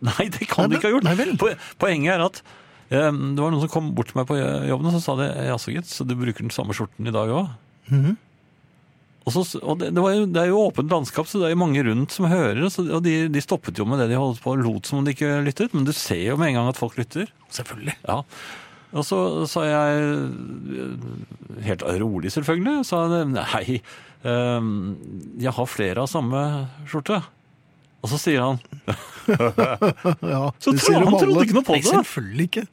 Speaker 3: Nei, det kan
Speaker 2: Nei,
Speaker 3: du ikke ha gjort.
Speaker 2: nei vel.
Speaker 3: Po- Poenget er at eh, det var noen som kom bort til meg på jobben og så sa det, jaså gitt, så du bruker den samme skjorten i dag òg?
Speaker 2: Mhm.
Speaker 3: Og, så, og det, det, var jo, det er jo åpent landskap, så det er jo mange rundt som hører. Og, så, og de, de stoppet jo med det de holdt på og lot som om de ikke lyttet. Men du ser jo med en gang at folk lytter.
Speaker 2: Selvfølgelig.
Speaker 3: Ja. Og så sa jeg, eh, helt rolig selvfølgelig, sa jeg, nei, ehm, jeg har flere av samme skjorte. Og så sier han,
Speaker 2: Ja,
Speaker 3: Så
Speaker 2: det
Speaker 3: tro-
Speaker 2: sier de
Speaker 3: han trodde
Speaker 2: alle.
Speaker 3: ikke noe på det.
Speaker 2: Nei, selvfølgelig ikke.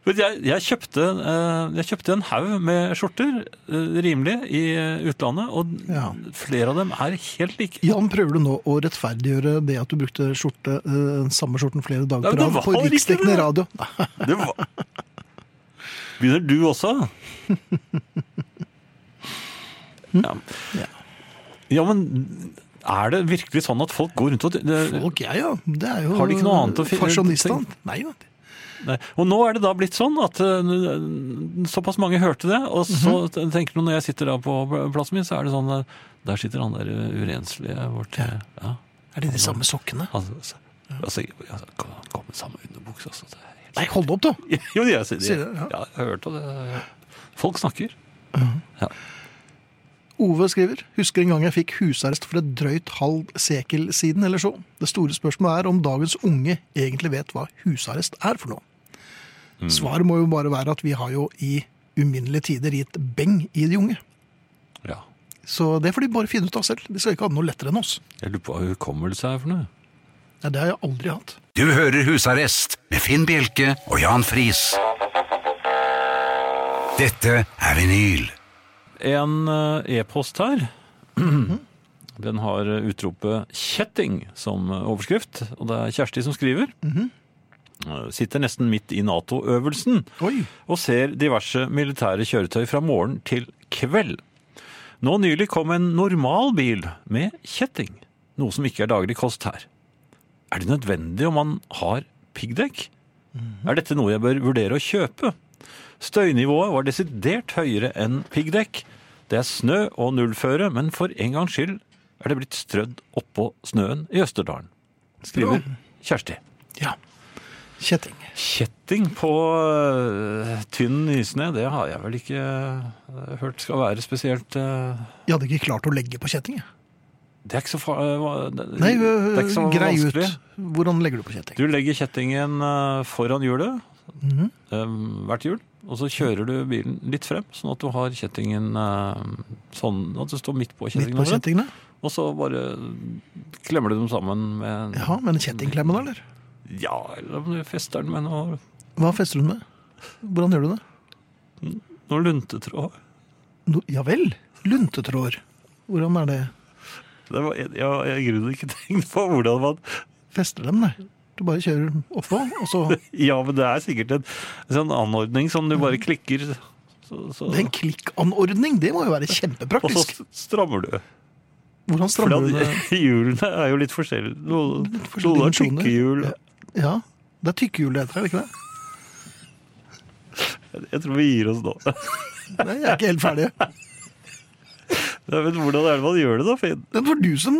Speaker 3: Vet du, jeg, jeg, kjøpte, eh, jeg kjøpte en haug med skjorter, eh, rimelig, i eh, utlandet, og
Speaker 2: Ja.
Speaker 3: flere av dem er helt like.
Speaker 2: Jan, prøver du nå å rettferdiggjøre det at du brukte skjorte, eh, samme skjorten flere
Speaker 3: Nei,
Speaker 2: dager
Speaker 3: men
Speaker 2: på
Speaker 3: det
Speaker 2: rad på
Speaker 3: var ikke
Speaker 2: riksdekkende
Speaker 3: det.
Speaker 2: radio? Nei,
Speaker 3: Det var... Begynner du også? Hm? Ja.
Speaker 2: Ja.
Speaker 3: ja, men er det virkelig sånn at folk går rundt og...
Speaker 2: Folk, jeg, ja. Det er jo
Speaker 3: Har de ikke noe annet å finne-
Speaker 2: Fasjonistene. Nei da.
Speaker 3: Nei. Og nå er det da blitt sånn at eh, såpass mange hørte det, og så tenker noen når jeg sitter da på plassen min, så er det sånn eh, der sitter han der urenslige vårt eh, ja.
Speaker 2: Er det de samme sokkene?
Speaker 3: Han altså, altså, altså, kom- kom med samme underbukse, altså. Det er helt...
Speaker 2: Nei, hold opp, da!
Speaker 3: Jo, jeg sier
Speaker 2: Sier det, ja.
Speaker 3: Ja, jeg har hørt det. jeg har hørt. Folk snakker.
Speaker 2: Ove skriver Husker en gang jeg fikk husarrest for et drøyt halv sekel siden eller så. Det store spørsmålet er om dagens unge egentlig vet hva husarrest er for noe.
Speaker 3: Mm.
Speaker 2: Svaret må jo bare være at vi har jo i uminnelige tider gitt beng i de unge.
Speaker 3: Ja.
Speaker 2: Så det får de bare finne ut av selv. De skal ikke ha det noe lettere enn oss.
Speaker 3: Jeg lurer på hva hukommelse er for noe.
Speaker 2: Nei, det har jeg aldri hatt.
Speaker 1: Du hører Husarrest med Finn Bjelke og Jan Friis. Dette er vinyl.
Speaker 3: En eh, e-post her. Den har eh, utropet 'kjetting' som eh, overskrift, og det er Kjersti som skriver. Eh, Sitter nesten midt i Nato-øvelsen
Speaker 2: Oi.
Speaker 3: og ser diverse militære kjøretøy fra morgen til kveld. Nå nylig kom en normal bil med kjetting, noe som ikke er daglig kost her. Er det nødvendig om man har piggdekk? Er dette noe jeg bør vurdere å kjøpe? Støynivået var desidert høyere enn piggdekk. Det er snø og nullføre, men for en gangs skyld er det blitt strødd oppå snøen i Østerdalen. Skriver Kjersti.
Speaker 2: Ja. Kjetting.
Speaker 3: Kjetting på øh, tynn nysnø, det har jeg vel ikke øh, hørt skal være spesielt øh,
Speaker 2: Jeg hadde ikke klart å legge på kjetting. jeg.
Speaker 3: Det er ikke så, fa øh, hva- det,
Speaker 2: Nei, øh, eh,
Speaker 3: det er ikke så
Speaker 2: grei ut.
Speaker 3: vanskelig.
Speaker 2: Hvordan legger du på kjetting?
Speaker 3: Du legger kjettingen øh, foran hjulet øh, hvert hjul, og så kjører du bilen litt frem, sånn at du har kjettingen øh, sånn at du står midt på
Speaker 2: Midt
Speaker 3: kjettingen.
Speaker 2: på
Speaker 3: over den.
Speaker 2: kjettingene?
Speaker 3: Og så bare klemmer du dem sammen med
Speaker 2: Jaha, med en kjettingklemme da, eller?
Speaker 3: Ja, eller om du fester den med noe,
Speaker 2: Hva fester du den med? Hvordan gjør du det?
Speaker 3: noe luntetråd.
Speaker 2: No, ja vel. Luntetråder. Hvordan er det?
Speaker 3: Det var, jeg jeg har i grunnen ikke tenkt på hvordan man
Speaker 2: Fester dem, nei. Du bare kjører oppå, og så
Speaker 3: Ja, men det er sikkert en sånn anordning som du bare klikker så, så,
Speaker 2: Det er en klikkanordning! Det må jo være
Speaker 3: Og så
Speaker 2: kjempepraktisk.
Speaker 3: st- strammer du.
Speaker 2: Hvordan
Speaker 3: For
Speaker 2: strammer du det?
Speaker 3: hjulene er jo litt forskjellige. Noen,
Speaker 2: forskjellige
Speaker 3: noen har
Speaker 2: dimensjoner.
Speaker 3: tykke hjul.
Speaker 2: Ja, det er tykkehjul det heter, er det ikke det?
Speaker 3: Jeg tror vi gir oss nå.
Speaker 2: Nei, jeg er ikke helt ferdig.
Speaker 3: Nei, men hvordan er det man gjør det, da, Finn?
Speaker 2: Det var du som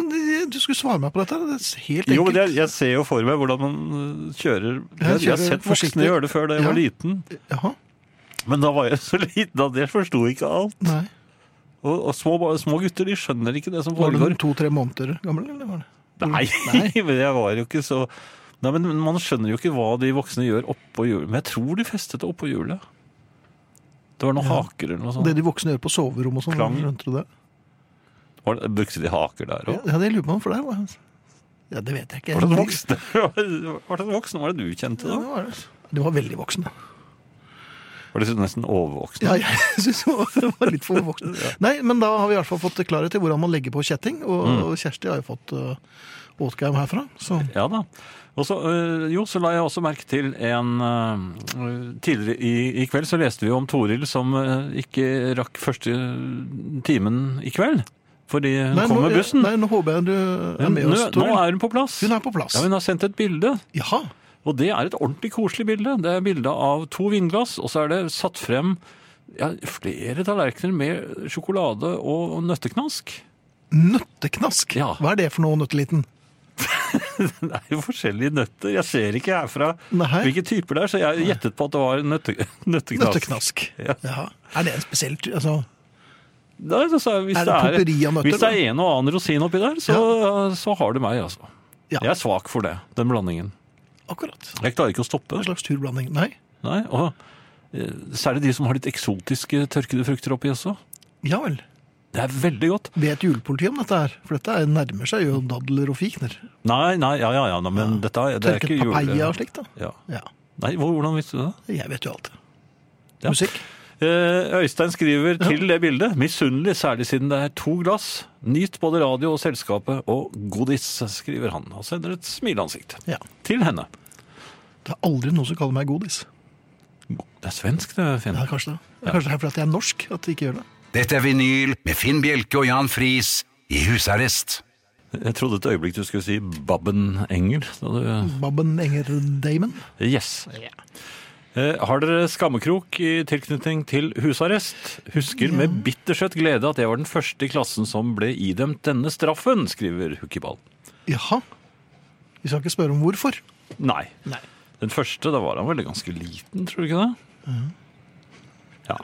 Speaker 2: du skulle svare meg på dette. Det er helt enkelt.
Speaker 3: Jo, men jeg, jeg ser jo for meg hvordan man øh, kjører Jeg, jeg har
Speaker 2: kjører
Speaker 3: sett
Speaker 2: forsiktig.
Speaker 3: voksne gjøre det før da jeg var
Speaker 2: Ja.
Speaker 3: liten.
Speaker 2: Jaha,
Speaker 3: Men da var jeg så liten at jeg forsto ikke alt.
Speaker 2: nei.
Speaker 3: Og, og små, små gutter de skjønner ikke det som
Speaker 2: Var
Speaker 3: foregår.
Speaker 2: du to-tre måneder gammel, eller var det?
Speaker 3: Nei,
Speaker 2: Mm. Nei.
Speaker 3: men jeg var jo ikke så Nei, men Man skjønner jo ikke hva de voksne gjør oppå hjulet. Men jeg tror de festet det oppå hjulet. Det var noen haker eller noe sånt.
Speaker 2: Det de voksne gjør på soverom og sånn,
Speaker 3: Klang.
Speaker 2: skjønte du det?
Speaker 3: Var det, brukte de haker der òg?
Speaker 2: Ja, det lurer jeg på, for der var Ja, det vet jeg ikke.
Speaker 3: Var det en voksen? Var det en voksen? Var det du kjente
Speaker 2: Ja,
Speaker 3: da?
Speaker 2: det var det. De var veldig voksne.
Speaker 3: Var dessuten nesten overvåkne.
Speaker 2: Ja, jeg syns det var litt for voksen. Nei, men da har vi i hvert fall fått klarhet i hvordan man legger på kjetting, og,
Speaker 3: Mm.
Speaker 2: og Kjersti har jo fått uh, Åtgheim herfra. Så
Speaker 3: Ja da. Og så, øh, jo, så la jeg også merke til en øh, Tidligere i, i kveld så leste vi om Toril som øh, ikke rakk første timen i kveld. Fordi hun
Speaker 2: Nei,
Speaker 3: kom
Speaker 2: nå,
Speaker 3: med bussen.
Speaker 2: Nei, nå håper jeg du er med
Speaker 3: nå,
Speaker 2: oss,
Speaker 3: nå
Speaker 2: Toril.
Speaker 3: er hun på plass.
Speaker 2: Hun er på plass.
Speaker 3: Ja, Hun har sendt et bilde,
Speaker 2: Jaha.
Speaker 3: og det er et ordentlig koselig bilde. Det er bilde av to vinglass, og så er det satt frem ja, flere tallerkener med sjokolade og og nøtteknask.
Speaker 2: Nøtteknask?
Speaker 3: Ja.
Speaker 2: Hva er det for noe, nøtteliten?
Speaker 3: Det er jo forskjellige nøtter. Jeg ser ikke herfra
Speaker 2: Nei.
Speaker 3: hvilke typer det er, så jeg gjettet på at det var nøtte, nøtteknask.
Speaker 2: Nøtteknask.
Speaker 3: Ja.
Speaker 2: Ja. Er det en spesiell ty- altså,
Speaker 3: Nei, altså, hvis,
Speaker 2: Er det
Speaker 3: det
Speaker 2: potpurri av nøtter,
Speaker 3: hvis det er en og annen rosin oppi der, så, så har du meg, altså.
Speaker 2: Ja.
Speaker 3: Jeg er svak for det, den blandingen.
Speaker 2: Akkurat.
Speaker 3: Jeg klarer ikke å stoppe.
Speaker 2: En slags turblanding. Nei.
Speaker 3: Nei, og eh, særlig de som har litt eksotiske tørkede frukter oppi også.
Speaker 2: Ja vel.
Speaker 3: Det er veldig godt.
Speaker 2: Vet julepolitiet om dette her? For dette er- nærmer seg jo dadler og fikner.
Speaker 3: Nei, nei, ja, ja, ja, nei, men dette er, det er
Speaker 2: Tørket
Speaker 3: ikke jule...
Speaker 2: papaya og slikt. da.
Speaker 3: Ja.
Speaker 2: Ja.
Speaker 3: Nei, hvor- hvordan visste du det?
Speaker 2: Jeg vet jo alt. det.
Speaker 3: Ja.
Speaker 2: Musikk.
Speaker 3: Eh, Øystein skriver til det bildet. Misunnelig, særlig siden det er to glass. Nyt både radio og selskapet og godis, skriver han. Og sender et smileansikt
Speaker 2: Ja.
Speaker 3: til henne.
Speaker 2: Det er aldri noen som kaller meg godis.
Speaker 3: Det er svensk, det, Finn.
Speaker 2: Ja, kanskje det. Det er Kanskje det er fordi at jeg er norsk at de ikke gjør det.
Speaker 1: Dette er vinyl med Finn Bjelke og Jan Friis i husarrest.
Speaker 3: Jeg trodde et øyeblikk du skulle si Babben Engel. Da du...
Speaker 2: Babben Enger Damon.
Speaker 3: Yes. Eh, har dere skammekrok i tilknytning til husarrest? Husker med bittersøtt glede at jeg var den første i klassen som ble idømt denne straffen, skriver Hukkiball.
Speaker 2: Jaha. Vi skal ikke spørre om hvorfor.
Speaker 3: Nei.
Speaker 2: Nei.
Speaker 3: Den første, da var han vel ganske liten, tror du ikke det? Ja.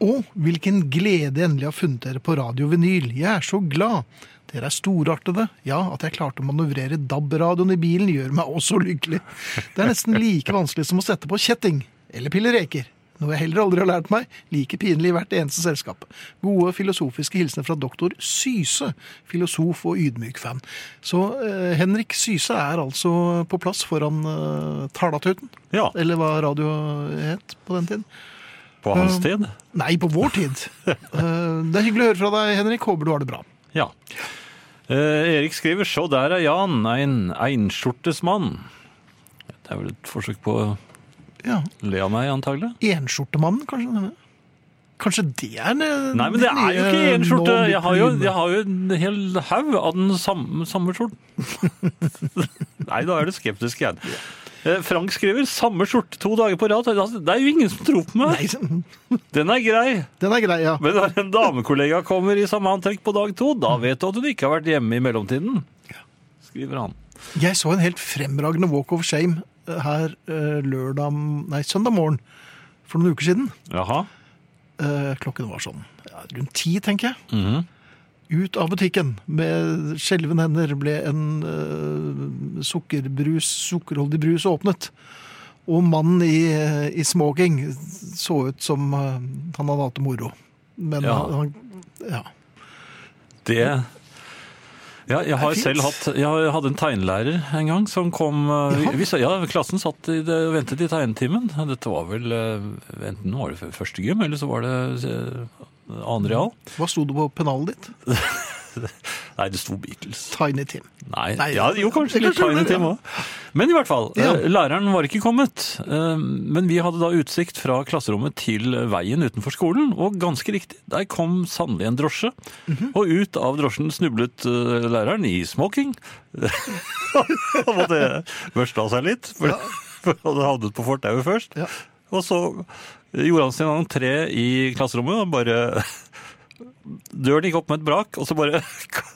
Speaker 2: Og hvilken glede endelig har funnet dere på radio vinyl. Jeg er så glad. Dere er storartede. Ja, at jeg klarte å manøvrere DAB-radioen i bilen gjør meg også lykkelig. Det er nesten like vanskelig som å sette på kjetting. Eller pille reker. Noe jeg heller aldri har lært meg. Like pinlig i hvert eneste selskap. Gode filosofiske hilsener fra doktor Syse, filosof og ydmyk fan. Så eh, Henrik Syse er altså på plass foran eh, Talatuten.
Speaker 3: ja.
Speaker 2: Eller hva radio het på den tiden.
Speaker 3: På hans tid.
Speaker 2: Nei, på vår tid. Eh, det er hyggelig å høre fra deg, Henrik. Håper du har det bra.
Speaker 3: Ja. Eh, Erik skriver 'Så der er Jan, ein einskjortes mann'. Det er vel et forsøk på å
Speaker 2: Ja,
Speaker 3: le av meg, antagelig?
Speaker 2: Enskjortemannen, kanskje? Kanskje det er det-
Speaker 3: Nei, men det er jo ikke én skjorte.
Speaker 2: Nå-
Speaker 3: Jeg har jo, jeg har jo en hel haug av den samme, samme skjorten. Nei, da er du skeptisk igjen. Eh, Frank skriver 'samme skjorte to dager på rad'. Altså, Det er jo ingen som tror på meg!
Speaker 2: Nei, den
Speaker 3: Den er grei.
Speaker 2: er grei, ja.
Speaker 3: Men når en damekollega kommer i samme antrekk på dag to, da vet du at hun ikke har vært hjemme i mellomtiden. Skriver han.
Speaker 2: Jeg så en helt fremragende walk of shame eh, her eh, lørdag Nei, søndag morgen for noen uker siden.
Speaker 3: Jaha.
Speaker 2: Eh, klokken var sånn ja, rundt ti, tenker jeg.
Speaker 3: Mhm.
Speaker 2: Ut av butikken med skjelvende hender ble en eh, sukkerbrus, sukkerholdig brus åpnet. Og mannen i, eh, i smoking så ut som eh, han hadde hatt det moro. Men
Speaker 3: Ja.
Speaker 2: han, han ja.
Speaker 3: Det ja, jeg har
Speaker 2: Det
Speaker 3: selv
Speaker 2: finnes.
Speaker 3: hatt Jeg hadde en tegnelærer en gang som kom eh, vi-
Speaker 2: Jaha.
Speaker 3: vi, sa- ja, Klassen satt i det, og ventet i tegnetimen. Dette var vel eh, Enten var det første gym, eller så var det eh, andre real.
Speaker 2: Hva sto det på pennalet ditt?
Speaker 3: Nei, det sto Beatles.
Speaker 2: Tiny Tim.
Speaker 3: Nei,
Speaker 2: Nei,
Speaker 3: ja, jo kanskje
Speaker 2: det
Speaker 3: litt
Speaker 2: kanskje
Speaker 3: Tiny
Speaker 2: det,
Speaker 3: Tim
Speaker 2: ja.
Speaker 3: også. Men i hvert fall,
Speaker 2: Ja.
Speaker 3: eh, læreren var ikke kommet. Eh, Men vi hadde da utsikt fra klasserommet til veien utenfor skolen, og ganske riktig, der kom sannelig en drosje.
Speaker 2: Mhm.
Speaker 3: Og ut av drosjen snublet eh, læreren i smoking. Han måtte børste av seg litt, for for han hadde havnet på fortauet først.
Speaker 2: Ja.
Speaker 3: Og så gjorde han sin entré i klasserommet og bare Døren gikk opp med et brak, og så bare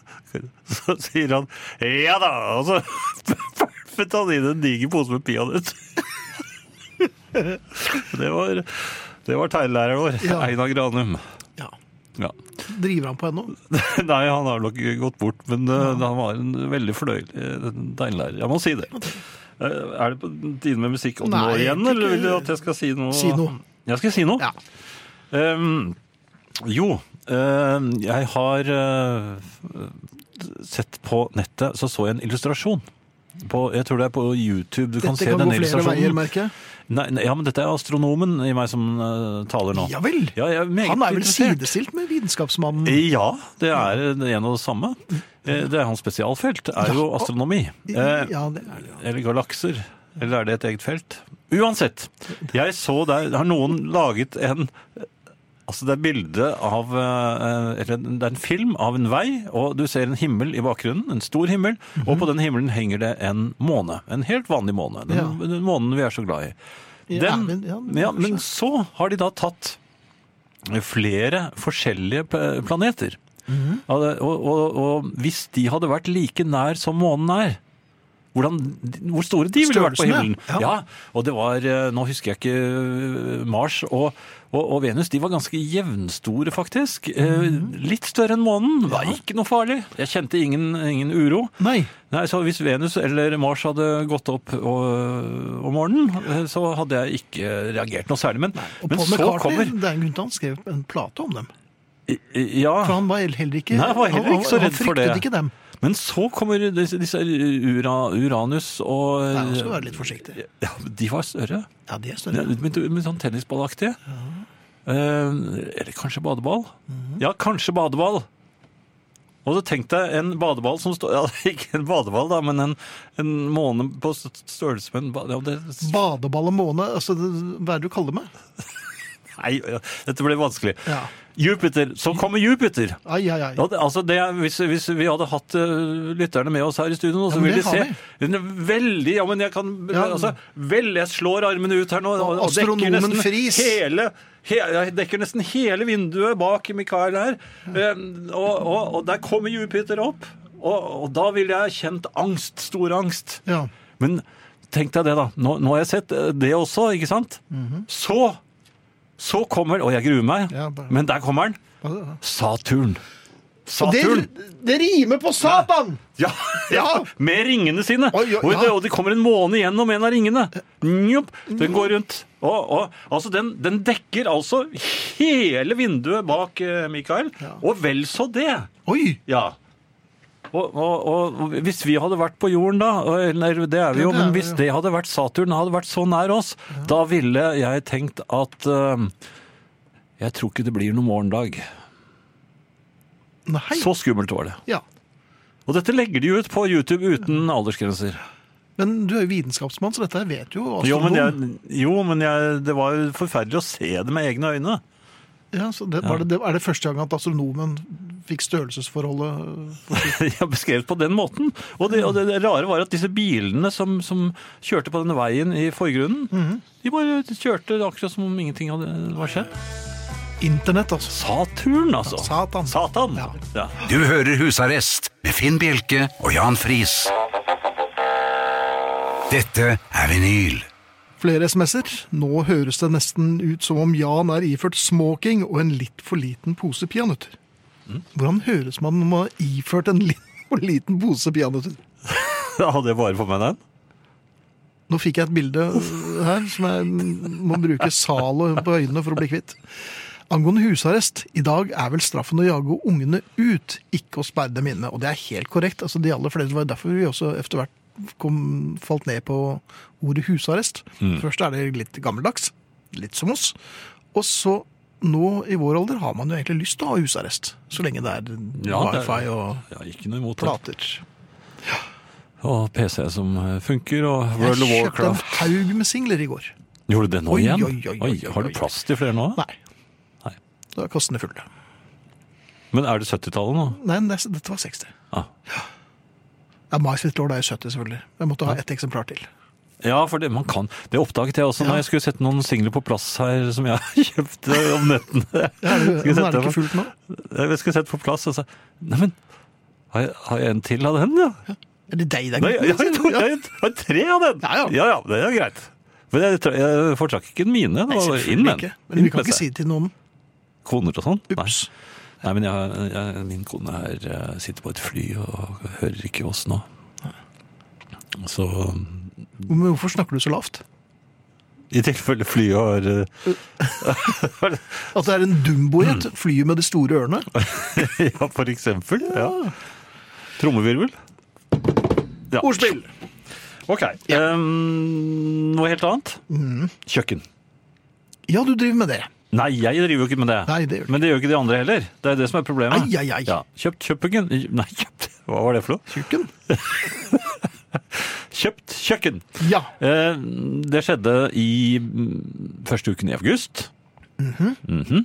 Speaker 3: Så sier han 'ja da', og så pælmet han inn en diger pose med peanøtter. Det var, det var tegnelæreren vår,
Speaker 2: Ja.
Speaker 3: Einar Granum.
Speaker 2: Ja.
Speaker 3: Ja.
Speaker 2: Driver han på ennå?
Speaker 3: Nei, han har nok gått bort, men eh, han var en veldig fornøyelig eh, tegnelærer. Jeg må si det. Eh, Er det på tide med musikk og nå
Speaker 2: Nei, jeg
Speaker 3: igjen,
Speaker 2: tenker-
Speaker 3: eller vil du at jeg skal si noe?
Speaker 2: Si noe.
Speaker 3: Jeg skal si noe.
Speaker 2: Ja.
Speaker 3: Ehm, jo, ehm, eh, jeg har eh, sett på nettet, så så jeg en illustrasjon På, jeg tror det er på YouTube du kan
Speaker 2: Dette
Speaker 3: se
Speaker 2: kan
Speaker 3: den
Speaker 2: gå flere
Speaker 3: illustrasjonen.
Speaker 2: veier, merker jeg.
Speaker 3: Nei, nei, ja, men dette er astronomen i meg som eh, taler nå.
Speaker 2: Ja vel.
Speaker 3: Ja, jeg er meget
Speaker 2: Han er vel
Speaker 3: interessert.
Speaker 2: sidestilt med vitenskapsmannen.
Speaker 3: Ja, det er en og det samme. Eh, Det er hans spesialfelt, er jo astronomi. Eh,
Speaker 2: Ja, det er det.
Speaker 3: Eller galakser. Eller er det et eget felt? Uansett, jeg så der Har noen laget en Altså, det er bilde av eh, Eller det er en film av en vei, og du ser en himmel i bakgrunnen. En stor himmel.
Speaker 2: Mhm.
Speaker 3: Og på den himmelen henger det en måne. En helt vanlig måne. Den,
Speaker 2: Ja.
Speaker 3: den månen vi er så glad i.
Speaker 2: Ja,
Speaker 3: Den,
Speaker 2: men- ja,
Speaker 3: ja,
Speaker 2: den-
Speaker 3: men så har de da tatt flere forskjellige pla- planeter. Ja, det- og, og, og hvis de hadde vært like nær som månen er, hvordan, hvor store de ville vært på
Speaker 2: Størrelsen, ja.
Speaker 3: himmelen.
Speaker 2: Ja.
Speaker 3: Ja. og det var, eh, nå husker jeg ikke eh, Mars og, og, og Venus, de var ganske jevnstore faktisk. Eh,
Speaker 2: Mhm.
Speaker 3: Litt større enn månen, var ikke noe farlig. Jeg kjente ingen, ingen uro.
Speaker 2: Nei.
Speaker 3: Nei, så hvis Venus eller Mars hadde gått opp og, om morgenen, eh, så hadde jeg ikke reagert noe særlig. Men,
Speaker 2: Og
Speaker 3: men
Speaker 2: Paul
Speaker 3: så
Speaker 2: McCartney,
Speaker 3: kommer
Speaker 2: det er en grunn til han skrev en plate om dem.
Speaker 3: I- i- Ja.
Speaker 2: For han var heller ikke,
Speaker 3: Nei, han var heller ikke så redd
Speaker 2: han
Speaker 3: for det.
Speaker 2: fryktet ikke dem.
Speaker 3: Men så kommer disse, disse ura, Uranus og
Speaker 2: Nei, han skal være litt forsiktig.
Speaker 3: Eh, Ja, de var større.
Speaker 2: Ja, det er
Speaker 3: Ja,
Speaker 2: større.
Speaker 3: men du- men sånn tennisballaktige. Eh, eller kanskje badeball?
Speaker 2: Mhm.
Speaker 3: Ja, kanskje badeball. Og så tenk deg en badeball som står ja, Ikke en badeball, da, men en, en måne på st- størrelse med en ba- ja, det,
Speaker 2: Badeball og måne, altså, det, hva er det du kaller meg?
Speaker 3: Nei, ja, dette ble vanskelig.
Speaker 2: Ja.
Speaker 3: Jupiter. Så kommer Jupiter!
Speaker 2: Ai, ai, ai.
Speaker 3: Ja, det, altså det, er- hvis, hvis vi hadde hatt eh, lytterne med oss her i studio nå, så
Speaker 2: men
Speaker 3: ville
Speaker 2: det
Speaker 3: de
Speaker 2: har
Speaker 3: se Den er Veldig Ja, men jeg kan
Speaker 2: Ja.
Speaker 3: altså, Vel, jeg slår armene ut her nå. Og, og dekker
Speaker 2: Astronomen
Speaker 3: nesten
Speaker 2: Friis.
Speaker 3: Hele, he, jeg dekker nesten hele vinduet bak Mikael her. Eh, og, og, og der kommer Jupiter opp. Og, og da ville jeg kjent angst. Stor angst.
Speaker 2: Ja.
Speaker 3: Men tenk deg det, da. Nå, nå har jeg sett eh, det også, ikke sant? Så så kommer Og jeg gruer meg,
Speaker 2: Mhm. Ja, bare-
Speaker 3: men der kommer den. Saturn. Saturn!
Speaker 2: Det, det rimer på Satan!
Speaker 3: Ja, ja, med ringene sine.
Speaker 2: Oi, oi,
Speaker 3: Og det-
Speaker 2: ja.
Speaker 3: Og det kommer en måne gjennom en av ringene. Njopp, den går rundt. Og, og, altså den, den dekker altså hele vinduet bak eh, Mikael, og vel så det.
Speaker 2: Oi!
Speaker 3: Ja. Og, og, og, og hvis vi hadde vært på jorden da, og- eller det er
Speaker 2: Ja,
Speaker 3: vi jo,
Speaker 2: det er
Speaker 3: men
Speaker 2: vi
Speaker 3: hvis
Speaker 2: jo.
Speaker 3: det hadde vært Saturn, hadde vært så nær oss, da ville jeg tenkt at eh, jeg tror ikke det blir noen morgendag.
Speaker 2: Nei.
Speaker 3: Så skummelt var det.
Speaker 2: Ja.
Speaker 3: Og dette legger de ut på YouTube
Speaker 2: Mm.
Speaker 3: uten aldersgrenser.
Speaker 2: Men du er jo vitenskapsmann, så dette her vet jo
Speaker 3: Jo, men,
Speaker 2: astronom.
Speaker 3: jeg, jo, men jeg, det var jo forferdelig å se det med egne øyne.
Speaker 2: Ja, så det, var det, det, er det første gang at astronomen fikk størrelsesforholdet
Speaker 3: Jeg beskrev det på den måten. Og det, og det, det rare var at disse bilene som, som kjørte på denne veien i forgrunnen,
Speaker 2: Mhm.
Speaker 3: de bare kjørte akkurat som om ingenting hadde var skjedd.
Speaker 2: internett, altså?
Speaker 3: Saturn, altså.
Speaker 2: Satan.
Speaker 3: Satan.
Speaker 2: Ja.
Speaker 3: Ja.
Speaker 1: Du hører Husarrest med Finn Bjelke og Jan Friis. Dette er vinyl.
Speaker 2: Flere SMS-er. Nå høres det nesten ut som om Jan er iført smoking og en litt for liten pose peanøtter. Hvordan høres man når man har iført en litt for liten pose peanøtter?
Speaker 3: Da hadde jeg bare på meg den.
Speaker 2: Nå fikk jeg et bilde her som jeg må bruke Zalo på øynene for å bli kvitt. Angående husarrest, i dag er vel straffen å jage ungene ut, ikke å sperre dem inne. Og det er helt korrekt. altså De aller fleste det var derfor vi også etter hvert kom, falt ned på ordet husarrest.
Speaker 3: Mm.
Speaker 2: Først er det litt gammeldags, litt som oss. Og så nå i vår alder har man jo egentlig lyst til å ha husarrest, så lenge det er
Speaker 3: Ja, det er-
Speaker 2: wifi og
Speaker 3: Ja, ikke noe imot det.
Speaker 2: plater.
Speaker 3: Og PC som eh, funker, og
Speaker 2: Jeg
Speaker 3: World of
Speaker 2: kjøpte en
Speaker 3: Warcraft.
Speaker 2: haug med singler i går.
Speaker 3: Gjorde du det nå
Speaker 2: Oi,
Speaker 3: igjen?
Speaker 2: oi, oi, oi,
Speaker 3: Har du
Speaker 2: oi.
Speaker 3: plass til flere nå?
Speaker 2: Nei.
Speaker 3: Nei.
Speaker 2: Da er kassene fulle.
Speaker 3: Men er det 70-tallet nå?
Speaker 2: Nei, men det- dette var 60.
Speaker 3: Ah.
Speaker 2: Ja, Mai sitt lår er jo 70, selvfølgelig. Jeg måtte ha ett eksemplar til.
Speaker 3: Ja, for det, man kan. det oppdaget jeg også
Speaker 2: Ja.
Speaker 3: når jeg skulle sette noen singler på plass her som jeg kjøpte om nettene.
Speaker 2: Ja, er det,
Speaker 3: Skal jeg
Speaker 2: men er
Speaker 3: sette
Speaker 2: det ikke
Speaker 3: på-
Speaker 2: fullt nå?
Speaker 3: Jeg skulle sette på plass og sa Neimen, har, jeg- har jeg en til av den, ja?
Speaker 2: Er det deg det er
Speaker 3: Nei, jeg, har
Speaker 2: gutten,
Speaker 3: to-
Speaker 2: sier du? Ja.
Speaker 3: jeg har tre av den!
Speaker 2: Ja, ja.
Speaker 3: ja, det er greit. Men jeg, tra- jeg fortrakk ikke den mine.
Speaker 2: Nei,
Speaker 3: Det var bare inn
Speaker 2: selvfølgelig
Speaker 3: med
Speaker 2: ikke.
Speaker 3: den.
Speaker 2: Men vi
Speaker 3: Inn
Speaker 2: kan
Speaker 3: med
Speaker 2: ikke
Speaker 3: seg.
Speaker 2: si det til noen.
Speaker 3: Koner og sånn? Nei.
Speaker 2: Ups.
Speaker 3: Nei, men jeg, jeg, min kone her eh, sitter på et fly og hører ikke oss nå. Så
Speaker 2: Men hvorfor snakker du så lavt?
Speaker 3: i tilfelle flyet har eh,
Speaker 2: At det er en dumbojet,
Speaker 3: Mm.
Speaker 2: flyet med de store ørene.
Speaker 3: Ja, for eksempel. Ja. Trommevirvel. Ja.
Speaker 2: Ordspill!
Speaker 3: Ok. Ehm, noe helt annet?
Speaker 2: Mm.
Speaker 3: Kjøkken.
Speaker 2: Ja, du driver med det.
Speaker 3: Nei, jeg driver jo ikke med det.
Speaker 2: Nei, det gjør du
Speaker 3: Men det gjør ikke de andre heller. Det er det som er problemet.
Speaker 2: Ai, ai, ai.
Speaker 3: Ja. Kjøpt kjøkken Nei, kjøpt. Hva var det for noe?
Speaker 2: Tjukken?
Speaker 3: Kjøpt kjøkken.
Speaker 2: Ja.
Speaker 3: Eh, det skjedde i mm, første uken i august. Mhm.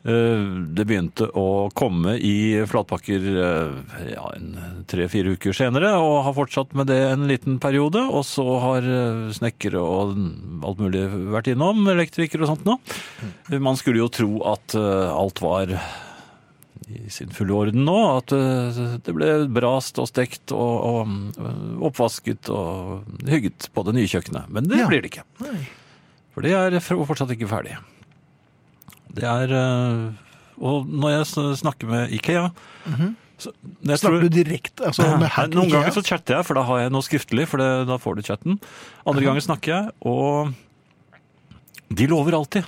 Speaker 3: Eh, det begynte å komme i flatpakker eh, ja, en tre-fire uker senere, og har fortsatt med det en liten periode. Og så har eh, snekkere og alt mulig vært innom, elektrikere og sånt nå. Man skulle jo tro at eh, alt var i sin fulle orden nå, at eh, det ble brast og stekt og, og eh, oppvasket og hygget på det nye kjøkkenet. Men det
Speaker 2: Ja.
Speaker 3: blir det ikke.
Speaker 2: Nei.
Speaker 3: For det er f- fortsatt ikke ferdig. Det er eh, Og når jeg sn- snakker med Ikea så, jeg
Speaker 2: Mhm. Snakker
Speaker 3: tror-
Speaker 2: du direkte? Altså, med
Speaker 3: Nei,
Speaker 2: hack-
Speaker 3: Noen
Speaker 2: Ikea?
Speaker 3: ganger så chatter jeg, for da har jeg noe skriftlig, for det, da får du chatten. Andre ganger snakker jeg, og de lover alltid.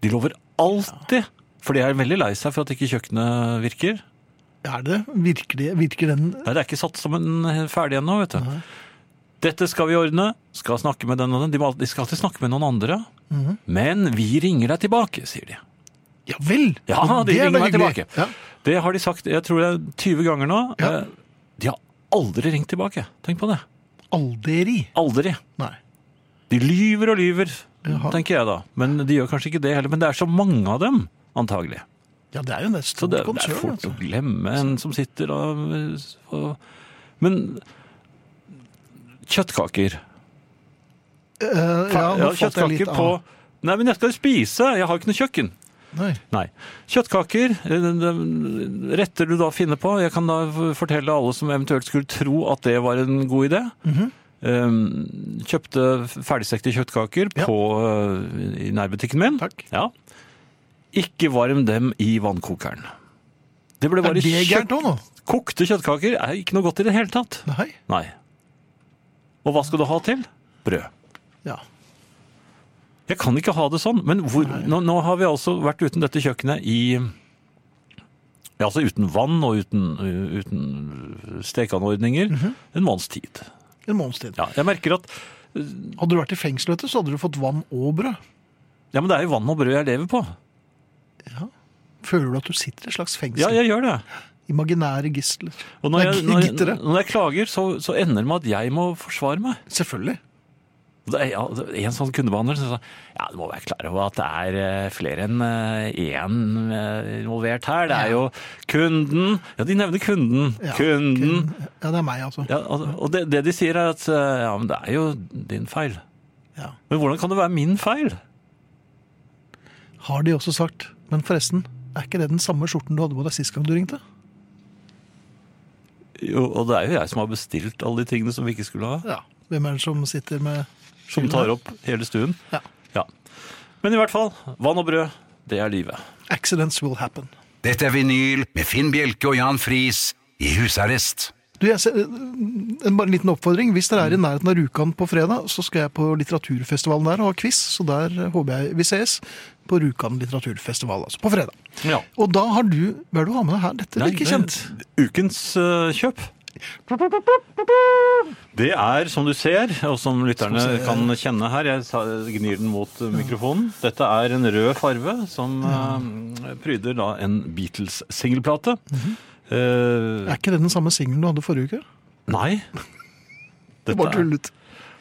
Speaker 3: De lover alltid! For de er veldig lei seg for at ikke kjøkkenet virker.
Speaker 2: Er det virkelig, virker den
Speaker 3: Nei, det er ikke satt som en eh, ferdig ennå, vet du. Dette skal vi ordne, skal snakke med den og den. De må al- De skal alltid snakke med noen andre.
Speaker 2: Mhm.
Speaker 3: Men vi ringer deg tilbake, sier de.
Speaker 2: Ja vel!
Speaker 3: Ja, de
Speaker 2: Det er
Speaker 3: ringer meg
Speaker 2: veldig hyggelig.
Speaker 3: tilbake.
Speaker 2: Ja.
Speaker 3: Det har de sagt jeg tror det er 20 ganger nå.
Speaker 2: Ja.
Speaker 3: Eh, De har aldri ringt tilbake. Tenk på det.
Speaker 2: Aldri.
Speaker 3: Aldri.
Speaker 2: Nei.
Speaker 3: De lyver og lyver,
Speaker 2: Jaha.
Speaker 3: tenker jeg da. Men de gjør kanskje ikke det heller. Men det er så mange av dem, antagelig.
Speaker 2: Ja, det er jo en
Speaker 3: Så
Speaker 2: stort
Speaker 3: det, det er
Speaker 2: konsern.
Speaker 3: fort
Speaker 2: altså.
Speaker 3: å glemme en som sitter og, og Men kjøttkaker
Speaker 2: Eh, ja,
Speaker 3: ja,
Speaker 2: nå falt jeg litt
Speaker 3: kjøttkaker
Speaker 2: av.
Speaker 3: på Nei, men jeg skal jo spise. Jeg har jo ikke noe kjøkken.
Speaker 2: Nei.
Speaker 3: Nei. Kjøttkaker eh, de- retter du da finner på. Jeg kan da f- fortelle alle som eventuelt skulle tro at det var en god idé.
Speaker 2: Mhm.
Speaker 3: Eh, Kjøpte f- ferdigstekte kjøttkaker
Speaker 2: Ja.
Speaker 3: på, eh, i nærbutikken min.
Speaker 2: Takk.
Speaker 3: Ja. Ikke varm dem i vannkokeren. Det ble
Speaker 2: Er
Speaker 3: bare
Speaker 2: det
Speaker 3: kjøtt...
Speaker 2: gærent òg nå?
Speaker 3: Kokte kjøttkaker er ikke noe godt i det hele tatt.
Speaker 2: Nei.
Speaker 3: Nei. Og hva skal du ha til? Brød.
Speaker 2: Ja.
Speaker 3: Jeg kan ikke ha det sånn, men hvor, nå, nå har vi altså vært uten dette kjøkkenet i Ja, altså uten vann og uten, øh, uten stekeanordninger en måneds tid.
Speaker 2: En måneds tid.
Speaker 3: Ja, jeg merker at
Speaker 2: Hadde du vært i fengsel, vet du, så hadde du fått vann og brød.
Speaker 3: Ja, men det er jo vann og brød jeg lever på.
Speaker 2: Føler du at du sitter i et slags fengsel?
Speaker 3: Ja, jeg gjør det.
Speaker 2: Imaginære gisler.
Speaker 3: Og når jeg, når jeg,
Speaker 2: Gittere.
Speaker 3: når jeg klager, så, så ender det med at jeg må forsvare meg.
Speaker 2: Selvfølgelig.
Speaker 3: Og Det er, ja, det er en sånn kundebehandler som sa ja, du må være klar over at det er eh, flere enn eh, én eh, involvert her. Det er jo kunden Ja, de nevner kunden.
Speaker 2: Ja,
Speaker 3: kunden.
Speaker 2: Ja, det er meg, altså.
Speaker 3: Ja, og og det, det de sier er at eh, ja, men det er jo din feil.
Speaker 2: Ja.
Speaker 3: Men hvordan kan det være min feil?
Speaker 2: Har de også sagt. Men forresten, er ikke det den samme skjorten du hadde på deg sist gang du ringte?
Speaker 3: Jo, og det er jo jeg som har bestilt alle de tingene som vi ikke skulle ha.
Speaker 2: Ja. Hvem er det som sitter med
Speaker 3: Som tar opp hele stuen.
Speaker 2: Ja.
Speaker 3: Ja. Men i hvert fall, vann og brød, det er livet.
Speaker 2: Accidents will happen.
Speaker 1: Dette er vinyl med Finn Bjelke og Jan Friis i husarrest.
Speaker 2: Du, jeg ser, øh, en- bare en liten oppfordring. Hvis dere er i nærheten av Rjukan på fredag, så skal jeg på litteraturfestivalen der og ha quiz. Så der eh, håper jeg vi ses. På Rjukan litteraturfestival, altså. På fredag.
Speaker 3: Ja.
Speaker 2: Og da har du Hva er det du har med deg her? Dette
Speaker 3: Nei,
Speaker 2: virker
Speaker 3: det-
Speaker 2: kjent.
Speaker 3: Ukens eh, kjøp. Det er, som du ser, og som lytterne kan kjenne her Jeg sa- gnir den mot eh, mikrofonen. Dette er en rød farve som eh, pryder da en Beatles-singelplate. Eh,
Speaker 2: Er ikke det den samme singelen du hadde forrige uke?
Speaker 3: nei.
Speaker 2: Det
Speaker 3: Dette
Speaker 2: var
Speaker 3: er,
Speaker 2: tullet.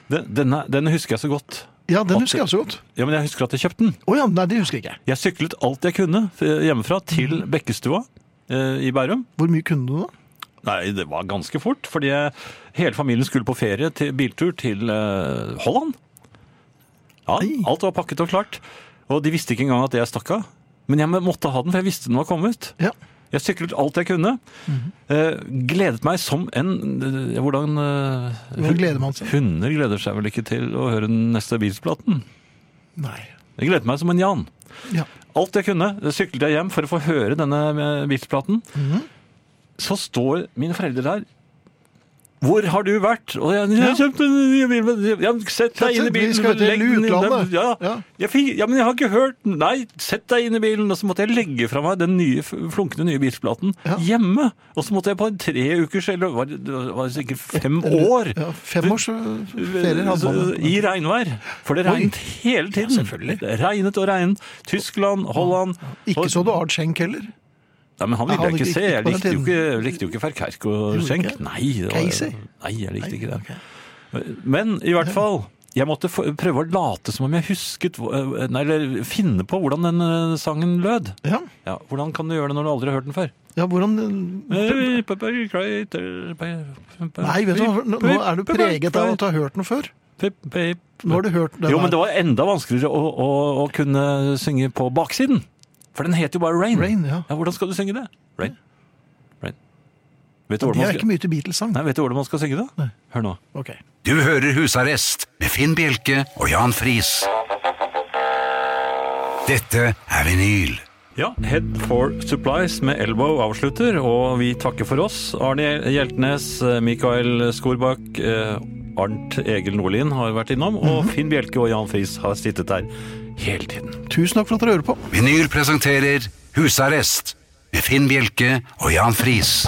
Speaker 3: den, denne, denne husker jeg så godt.
Speaker 2: Ja, den
Speaker 3: At
Speaker 2: husker jeg også godt.
Speaker 3: Ja, Men jeg husker at jeg kjøpte den.
Speaker 2: Å ja, nei, det husker jeg ikke.
Speaker 3: Jeg syklet alt jeg kunne f- hjemmefra til Bekkestua eh, i Bærum.
Speaker 2: Hvor mye kunne du da?
Speaker 3: Nei, det var ganske fort, fordi jeg- hele familien skulle på ferie til biltur til eh, Holland. Ja, alt var pakket og klart, og de visste ikke engang at jeg stakk av. Men jeg måtte ha den, for jeg visste den var kommet.
Speaker 2: Ja.
Speaker 3: Jeg syklet alt jeg kunne.
Speaker 2: Mhm.
Speaker 3: eh, Gledet meg som en eh, Hvordan eh,
Speaker 2: Hvordan gleder man seg?
Speaker 3: Hunder gleder seg vel ikke til å høre den neste Beatles-platen.
Speaker 2: Nei.
Speaker 3: Jeg gledet meg som en Jan.
Speaker 2: Ja.
Speaker 3: Alt jeg kunne, syklet jeg hjem for å få
Speaker 2: Mhm.
Speaker 3: høre denne Beatles-platen. Så står mine foreldre der Hvor har du vært? Og jeg, jeg, har kjøpt en ny bil, men jeg, jeg, sett deg inn i bilen.
Speaker 2: Vi skal til
Speaker 3: legg den inn-
Speaker 2: utlandet.
Speaker 3: Ja,
Speaker 2: Ja.
Speaker 3: Jeg fikk, ja, men jeg har ikke hørt Nei, sett deg inn i bilen. Og så måtte jeg legge fra meg den nye, flunkende nye bilplaten
Speaker 2: Ja.
Speaker 3: hjemme. Og så måtte jeg på en tre ukers, eller var, det- det var sikkert fem år,
Speaker 2: Ja, fem års øh, ferie hadde
Speaker 3: så-
Speaker 2: man.
Speaker 3: i regnvær. For det
Speaker 2: Oi.
Speaker 3: regnet hele tiden. Det regnet og regnet. Tyskland, Holland
Speaker 2: Ikke
Speaker 3: og-
Speaker 2: så du Art Schenk heller.
Speaker 3: Nei, men han
Speaker 2: Nei,
Speaker 3: ville
Speaker 2: han
Speaker 3: jeg ikke
Speaker 2: likte
Speaker 3: se.
Speaker 2: ikke på
Speaker 3: Jeg
Speaker 2: den
Speaker 3: likte jo
Speaker 2: tiden.
Speaker 3: ikke, jeg likte jo ikke Ferkerk og
Speaker 2: Gjorde du
Speaker 3: Schenk.
Speaker 2: ikke?
Speaker 3: Nei, det var,
Speaker 2: Casey?
Speaker 3: nei, jeg likte ikke
Speaker 2: ok.
Speaker 3: det. Men i hvert fall, jeg måtte få- prøve å late som om jeg husket, hva- nei, eller finne på hvordan den eh, sangen lød.
Speaker 2: Ja.
Speaker 3: Ja, hvordan kan du gjøre det når du aldri har hørt den før?
Speaker 2: ja, hvordan
Speaker 3: Eh, Nei,
Speaker 2: Nei,
Speaker 3: vet
Speaker 2: vet du, hva, nå nå er du preget av at du har hørt den før. Nå har du hørt den
Speaker 3: Jo, men
Speaker 2: her.
Speaker 3: det var enda vanskeligere å, å, å kunne synge på baksiden. For den heter jo bare Rain.
Speaker 2: Rain, ja.
Speaker 3: Ja, hvordan skal du synge det? Rain. Rain. Vet du
Speaker 2: De
Speaker 3: hvordan man
Speaker 2: er ikke
Speaker 3: skal,
Speaker 2: mye til Beatles-sang.
Speaker 3: nei, vet du hvordan man skal synge det?
Speaker 2: Nei.
Speaker 3: Hør nå.
Speaker 2: Ok.
Speaker 1: Du hører Husarrest med Finn Bjelke og Jan Friis. Dette er vinyl.
Speaker 3: Ja, Head for Supplies med Elbow avslutter, og vi takker for oss. Arne Hjeltnes, eh, Mikael Skorbakk, eh, Arnt Egil Nordlien har vært innom,
Speaker 2: Mhm.
Speaker 3: og Finn Bjelke og Jan Friis har sittet der hele tiden.
Speaker 2: Tusen takk for at dere hører på.
Speaker 1: Vinyl presenterer Husarrest med Finn Bjelke og Jan Friis.